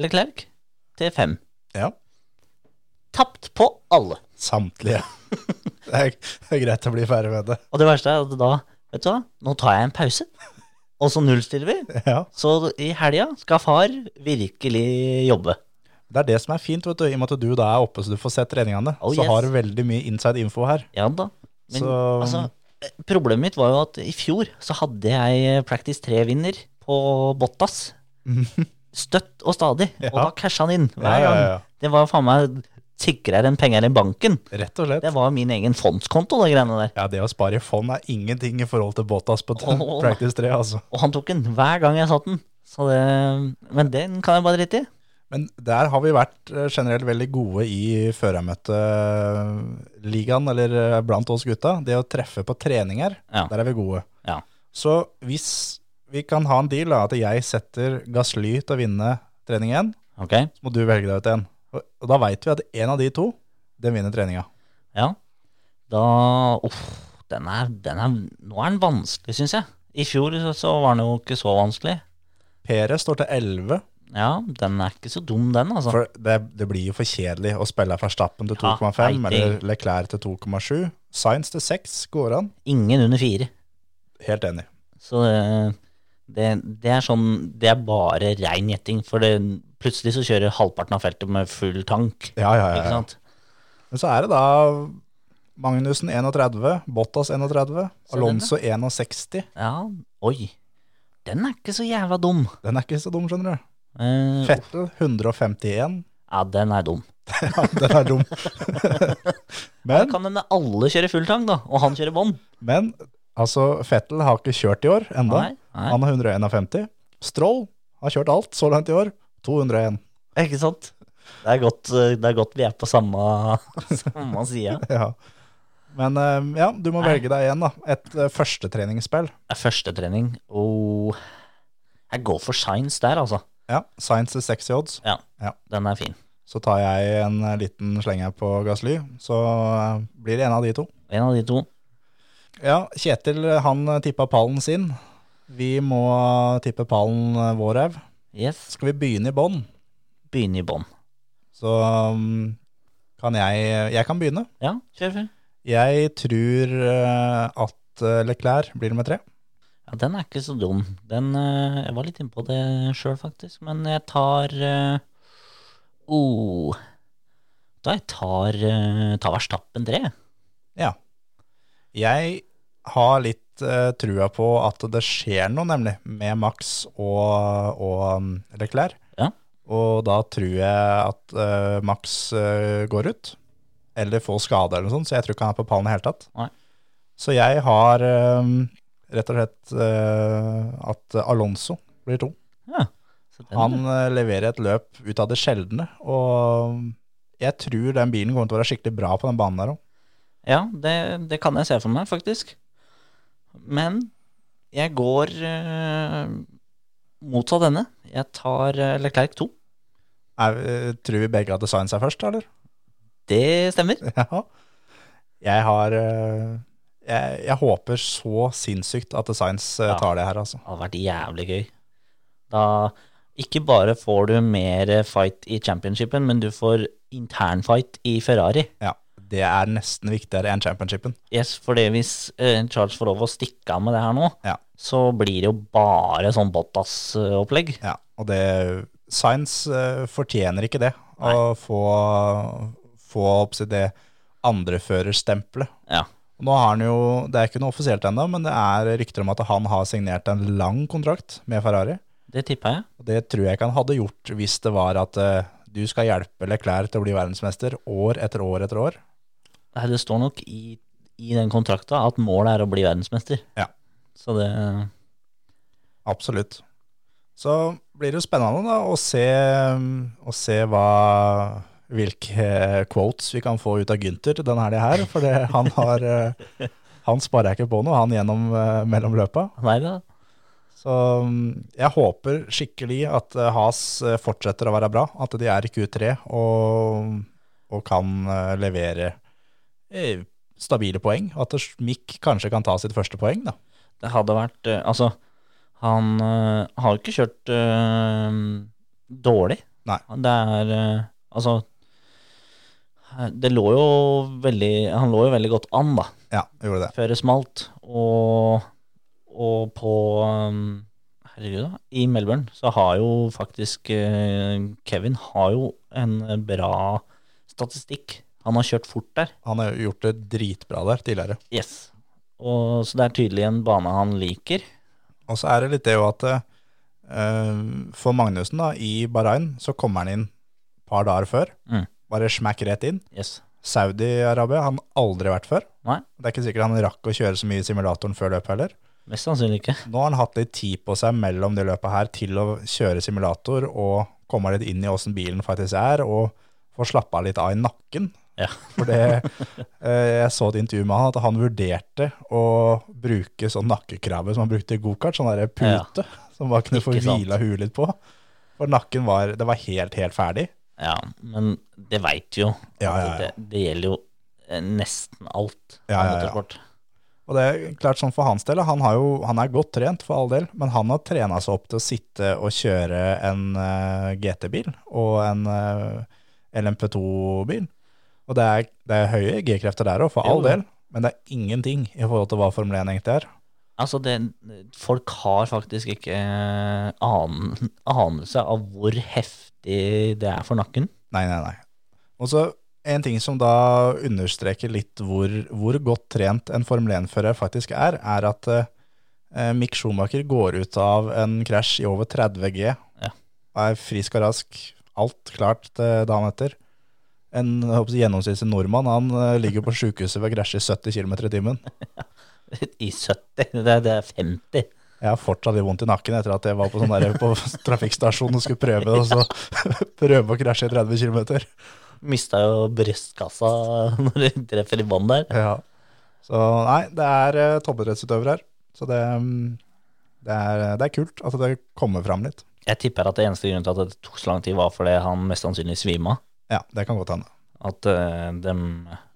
D: Leclerc, til fem.
C: Ja.
D: tapt på alle.
C: Samtlige. [laughs] Det er, det er greit å bli ferdig med det.
D: Og det verste er at da, vet du hva, nå tar jeg en pause, og så nullstiller vi.
C: Ja.
D: Så i helga skal far virkelig jobbe.
C: Det er det som er fint, vet du, i og med at du da er oppe så du får sett treningene.
D: Oh,
C: så
D: yes.
C: har du veldig mye inside info her.
D: Ja da. Men
C: Så-
D: altså, eh, problemet mitt var jo at i fjor så hadde jeg eh, Practice 3-vinner på Bottas. Støtt og stadig. Og
C: Mhm. Ja.
D: da casha han inn
C: Ja,
D: hver
C: ja,
D: gang.
C: ja.
D: Det var faen meg sikrere enn penger i banken.
C: Rett og slett.
D: Det var min egen fondskonto, de greiene der.
C: Ja, det å spare i fond er ingenting i forhold til Bottas på
D: Åh.
C: [laughs] Practice 3, altså.
D: Og han tok den hver gang jeg satt den. Så det, men den kan jeg bare drite i.
C: Men der har vi vært eh, generelt veldig gode i førermøteligaen, eller eh, blant oss gutta. Det å treffe på treninger,
D: Ja.
C: der er vi gode.
D: Ja.
C: Så hvis vi kan ha en deal, da, at jeg setter Gassly til å vinne trening én,
D: Ok,
C: så må du velge deg ut en. Og- Og da veit vi at en av de to, den vinner treninga.
D: ja. Da Uff, den er, den er Nå er den vanskelig, syns jeg. I fjor så- så var den jo ikke så vanskelig.
C: Pere står til 11,
D: Ja, den er ikke så dum, den, altså.
C: for det, det blir jo for kjedelig å spille Verstappen til
D: Ja,
C: 2,5
D: nei, det-
C: eller Leclerc til 2,7. Science til 6 går an.
D: Ingen under fire.
C: Helt enig.
D: Så eh, det, det er sånn Det er bare rein gjetting, for det, plutselig så kjører halvparten av feltet med full tank.
C: Ja, ja, ja.
D: Ikke
C: ja.
D: sant?
C: Men så er det da Magnussen 31, Bottas 31,
D: Så
C: Alonso 61.
D: Ja, oi. Den er ikke så jævla dum.
C: Den er ikke så dum, skjønner du.
D: Eh,
C: Fettel 151.
D: ja, den er dum.
C: Ja, [laughs] den er dum. [laughs]
D: Da
C: Men,
D: kan hende alle kjører full tank, da, og han kjører bånd.
C: men altså, Fettel har ikke kjørt i år enda.
D: Nei, nei.
C: Han har 151. Stroll har kjørt alt så langt i år. 201.
D: Ikke sant? Det er godt, eh, det er godt vi er på samme, [laughs] samme side.
C: [laughs] Ja. Men eh, ja, du må
D: Nei.
C: velge deg igjen, da. Et eh, førstetreningsspill.
D: Det er Første trening oh. Jeg går for science der, altså.
C: Ja, Science is sexy odds.
D: Ja,
C: Ja.
D: den er fin.
C: Så tar jeg en eh, liten slenge på Gassly, så eh, blir det en av de to.
D: En av de to.
C: Ja, Kjetil han tippa pallen sin. Vi må tippe pallen eh, vår òg.
D: Yes.
C: Skal vi begynne i bånn,
D: Begynne i bånn.
C: så um, kan jeg Jeg kan begynne.
D: Ja, kjør full.
C: Jeg tror eh, at eh, Leclerc blir nummer tre.
D: Ja, den er ikke så dum. Den, eh, jeg var litt inne på det sjøl, faktisk. Men jeg tar eh, oh. Da jeg tar, eh, tar Verstappen 3.
C: Ja. Jeg har litt eh, trua på at det skjer noe, nemlig, med Max og, og um, Leclerc.
D: Ja.
C: Og da tror jeg at eh, Max eh, går ut, eller får skade eller noe sånt, så jeg tror ikke han er på pallen i det hele tatt.
D: Nei.
C: Så jeg har eh, rett og slett eh, at Alonso blir to.
D: Ja. Så den-
C: Han eh, leverer et løp ut av det sjeldne, og um, jeg tror den bilen kommer til å være skikkelig bra på den banen der òg.
D: Ja, det, det kan jeg se for meg, faktisk. Men jeg går eh, motsatt denne. Jeg tar eh, Leclerc 2.
C: Er, tror vi begge at design seg først, eller?
D: Det stemmer.
C: [laughs] Ja. Jeg har eh, jeg, jeg håper så sinnssykt at Designs
D: Ja.
C: tar det her, altså.
D: Det hadde vært jævlig gøy. Da ikke bare får du mer eh, fight i championshipen, men du får internfight i Ferrari.
C: Ja, Det er nesten viktigere enn championshipen.
D: Yes, for det hvis eh, Charles får lov å stikke av med det her nå,
C: Ja.
D: så blir det jo bare sånn Bottas-opplegg.
C: Ja, og det Science fortjener ikke det. Å få, få opp sitt det andreførerstempelet.
D: Ja.
C: Og Nå har han jo, Det er ikke noe offisielt ennå, men det er rykter om at han har signert en lang kontrakt med Ferrari.
D: Det tippa jeg.
C: Og Det tror jeg ikke han hadde gjort hvis det var at eh, du skal hjelpe Leclerc til å bli verdensmester år etter år etter år.
D: Nei, det står nok i, i den kontrakta at målet er å bli verdensmester.
C: Ja.
D: Så det
C: Absolutt. Så blir det jo spennende da å se, å se hva, hvilke eh, quotes vi kan få ut av Gynter den helga her, for det, han har eh, Han sparer jeg ikke på noe, han gjennom eh, mellomløpa.
D: Nei da.
C: Så mm, jeg håper skikkelig at eh, Haas eh, fortsetter å være bra, at de er i Q3 og, og kan eh, levere eh, stabile poeng. og At Mick kanskje kan ta sitt første poeng, da.
D: Det hadde vært eh, Altså, han eh, har jo ikke kjørt eh, dårlig.
C: Nei.
D: Det er eh, Altså Det lå jo veldig Han lå jo veldig godt an, da,
C: Ja, jeg gjorde det.
D: før det smalt. Og, og på um, Herregud, da. I Melbourne så har jo faktisk eh, Kevin har jo en bra statistikk. Han har kjørt fort der.
C: Han har jo gjort det dritbra der tidligere.
D: Yes. Og, så det er tydelig en bane han liker.
C: Og så er det litt det jo at eh, for Magnussen da, i Bahrain, så kommer han inn et par dager før.
D: Mm.
C: Bare smakk rett inn.
D: Yes.
C: Saudi-Arabia har han aldri vært før.
D: Nei.
C: Det er ikke sikkert han rakk å kjøre så mye i simulatoren før løpet heller.
D: Mest sannsynlig ikke.
C: Nå har han hatt litt tid på seg mellom det løpet her til å kjøre simulator og komme litt inn i åssen bilen faktisk er, og få slappa litt av i nakken.
D: Ja.
C: For det, eh, jeg så et intervju med han at han vurderte å bruke sånn nakkekrabbe som han brukte i gokart, sånn derre pute som bare kunne få
D: Ikke sant.
C: hvila huet litt på. For nakken var, det var helt, helt ferdig.
D: Ja, men det veit jo.
C: Ja,
D: at
C: ja, ja.
D: Det, det gjelder jo eh, nesten alt
C: Ja,
D: av
C: ja, ja.
D: motorsport.
C: Og det er klart sånn for hans del, han, har jo, han er godt trent for all del, men han har trena seg opp til å sitte og kjøre en eh, GT-bil og en eh, LMP2-bil. Og det er, det er høye G-krefter der òg, for all
D: Jo, jo.
C: del, men det er ingenting i forhold til hva Formel 1 egentlig er.
D: Altså, det, folk har faktisk ikke eh, anen, [laughs] anelse av hvor heftig det er for nakken.
C: Nei, nei, nei. Og så en ting som da understreker litt hvor, hvor godt trent en Formel 1-fører faktisk er, er at eh, Mick Schumacher går ut av en krasj i over 30 G.
D: Ja.
C: Er frisk og rask. Alt klart til dagen etter. En jeg håper, å si, gjennomsnittlig nordmann han eh, ligger på sjukehuset ved å krasje i 70 km i timen.
D: I 70, [laughs] det, er- det er 50.
C: Jeg har fortsatt litt vondt i nakken etter at jeg var på, sånn der, på [laughs] trafikkstasjonen og skulle prøve, og så [laughs] prøve å krasje i 30 km.
D: Mista jo brystkassa [laughs] når du treffer i bånn der.
C: Ja. Så nei, det er eh, toppidrettsutøvere her. Så det, mm, det, er, det er kult at det kommer fram litt.
D: Jeg tipper at det eneste grunnen til at det tok så lang tid, var fordi han mest sannsynlig svima.
C: Ja, det kan godt hende.
D: At eh, dem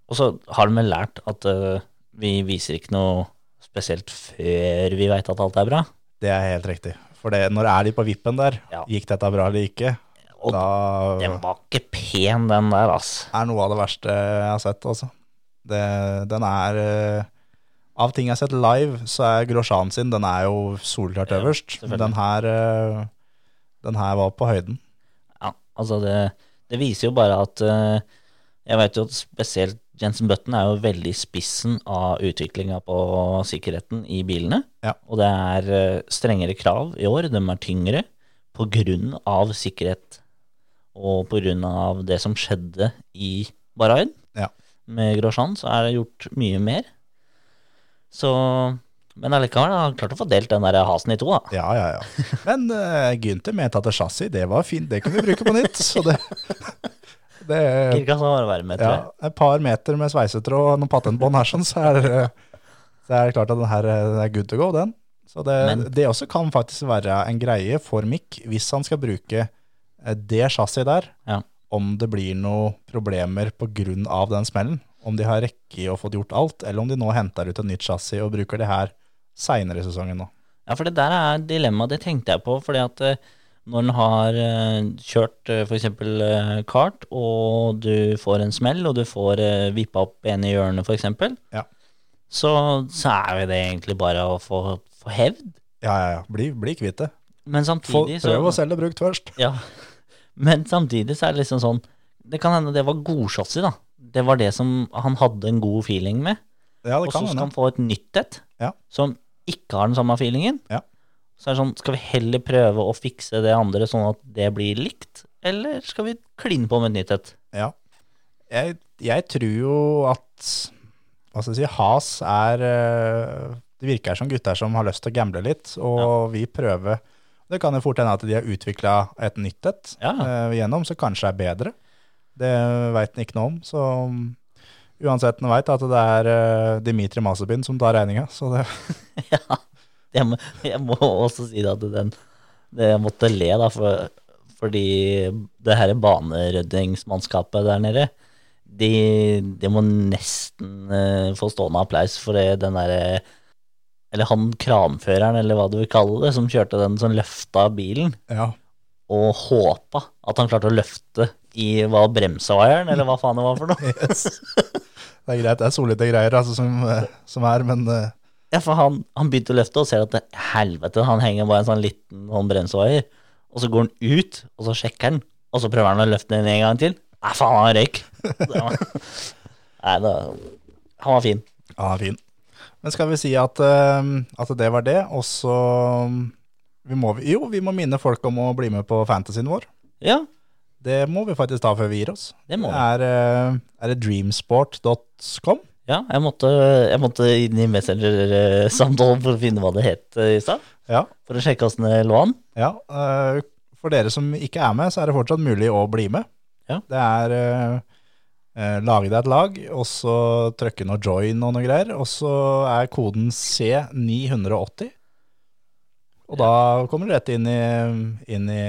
D: Og så har de vel lært at eh, vi viser ikke noe spesielt før vi veit at alt er bra.
C: Det er helt riktig. For det, når er de på vippen der,
D: Ja.
C: gikk dette bra eller ikke,
D: Og
C: da
D: den var ikke pen, den der, ass.
C: er noe av det verste jeg har sett, altså. Det, den er eh, Av ting jeg har sett live, så er Grosjan sin den er jo solklart
D: Ja,
C: øverst.
D: selvfølgelig.
C: Den her, eh, den her var på høyden.
D: Ja, altså det, det viser jo bare at eh, Jeg vet jo at spesielt Jensen Button er jo veldig i spissen av utviklinga på sikkerheten i bilene.
C: Ja.
D: Og det er eh, strengere krav i år, de er tyngre, på grunn av sikkerhet. Og på grunn av det som skjedde i Bahrain
C: Ja.
D: med Grosjean, så er det gjort mye mer. Så Men allikevel har han klart å få delt den der hasen i to, da.
C: Ja, ja, ja. Men uh, Gynter mente at chassis, det var fint, det kunne vi bruke på nytt. Så det, [laughs] det
D: Virka som å være med, tror
C: ja,
D: jeg.
C: Et par meter med sveisetråd og noen patentbånd her, sånn, så er, det- så er det klart at den her eh, er good to go, den. Så det,
D: Men-
C: det også kan faktisk være en greie for Mick, hvis han skal bruke eh, det chassiset der,
D: Ja.
C: om det blir noen problemer på grunn av den smellen. Om de har rekke og fått gjort alt, eller om de nå henter ut et nytt chassis og bruker det her seinere i sesongen nå.
D: Ja, for det der er dilemmaet, det tenkte jeg på. Fordi at eh, når en har eh, kjørt eh, for eksempel eh, kart, og du får en smell, og du får eh, vippa opp en i hjørnet for eksempel,
C: Ja.
D: så, så er jo det egentlig bare å få, få hevd.
C: Ja, ja, ja. Bli, bli kvitt det.
D: Men
C: Få,
D: samtidig så
C: prøv å selge brukt først.
D: Ja. [laughs] Men samtidig så er det liksom sånn Det kan hende det var godsjassi, da. Det var det som han hadde en god feeling med.
C: Ja, det
D: Og så
C: kan
D: skal han
C: hende.
D: få et nytt et
C: Ja.
D: som ikke har den samme feelingen.
C: Ja.
D: Så er det sånn, skal vi heller prøve å fikse det andre sånn at det blir likt, eller skal vi kline på med et nytt et?
C: Ja. Jeg, jeg tror jo at hva skal jeg si, Has er eh, Det virker som gutter som har lyst til å gamble litt, og vi prøver. Det kan jo fort hende at de har utvikla et nytt et
D: Ja.
C: eh, gjennom, så kanskje er bedre. Det veit en ikke noe om. Så um, uansett, en veit at det er eh, Dimitri Masebin som tar regninga, så det [laughs]
D: Ja. Jeg må, jeg må også si det at den det Jeg måtte le, da, for, fordi det her baneryddingsmannskapet der nede de, de må nesten eh, få stående applaus for det, den derre Eller han kranføreren, eller hva du vil kalle det, som kjørte den som løfta bilen.
C: Ja.
D: og håpa at han klarte å løfte i hva bremsa var, her, eller hva faen det var for [laughs] noe.
C: Det er greit, det er solide greier altså, som, eh, som er, men eh,
D: Ja, for han, han begynte å løfte og ser at det, helvete, han henger bare en sånn liten sånn bremsevaier. Og så går han ut, og så sjekker han, og så prøver han å løfte den en gang til. Nei, faen, han røyk. Det var- Nei, da Han var fin.
C: ja, fin. Men skal vi si at, eh, at det var det, og så mm, vi må, Jo, vi må minne folk om å bli med på fantasyen vår.
D: Ja,
C: Det må vi faktisk ta før vi gir oss.
D: Det må vi.
C: er, eh, er det dreamsport.com?
D: ja jeg, måtte, jeg måtte inn i Messenger-samtalen for å finne hva det het eh, i stad.
C: Ja.
D: For å sjekke åssen det lå an.
C: Ja, eh, for dere som ikke er med, så er det fortsatt mulig å bli med.
D: Ja.
C: Det er eh, eh, lage deg et lag, og så trykke noe join og noe greier, og så er koden C980. Og da kommer du rett inn i, inn i,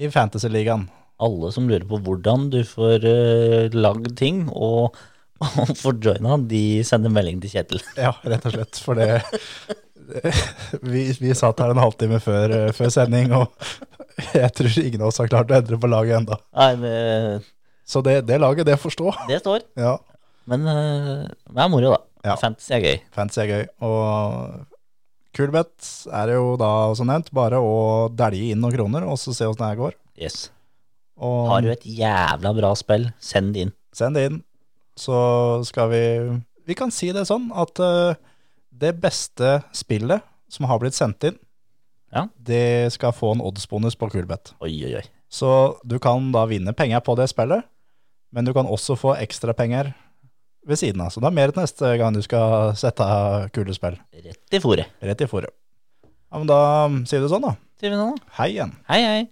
C: i Fantasy-ligaen.
D: alle som lurer på hvordan du får eh, lagd ting og, [laughs] og får joina, de sender melding til Kjetil. [laughs]
C: Ja, rett og slett, for det [laughs] vi, vi satt her en halvtime før, eh, før sending, og jeg tror ingen av oss har klart å endre på laget enda.
D: Nei, men,
C: Så det, det laget, det forstår.
D: det står.
C: Ja.
D: Men eh, det er moro, da.
C: Ja.
D: Fantasy er gøy.
C: Fantasy er gøy. Og Kulbeth er det jo da, som nevnt, bare å dælje inn noen kroner, og så se åssen det her går.
D: Yes.
C: Og
D: Har du et jævla bra spill, send det inn.
C: send det inn. Så skal vi Vi kan si det sånn at eh, det beste spillet som har blitt sendt inn,
D: Ja.
C: det skal få en oddsbonus på Kulbeth.
D: Oi, oi, oi.
C: Så du kan da vinne penger på det spillet, men du kan også få ekstrapenger ved siden av. Så det er mer til neste gang du skal sette av kule spill.
D: Rett i fòret.
C: Rett i fòret. Ja, men da mm, sier du sånn, da.
D: Sier vi nå, da.
C: Hei igjen.
D: Hei, hei.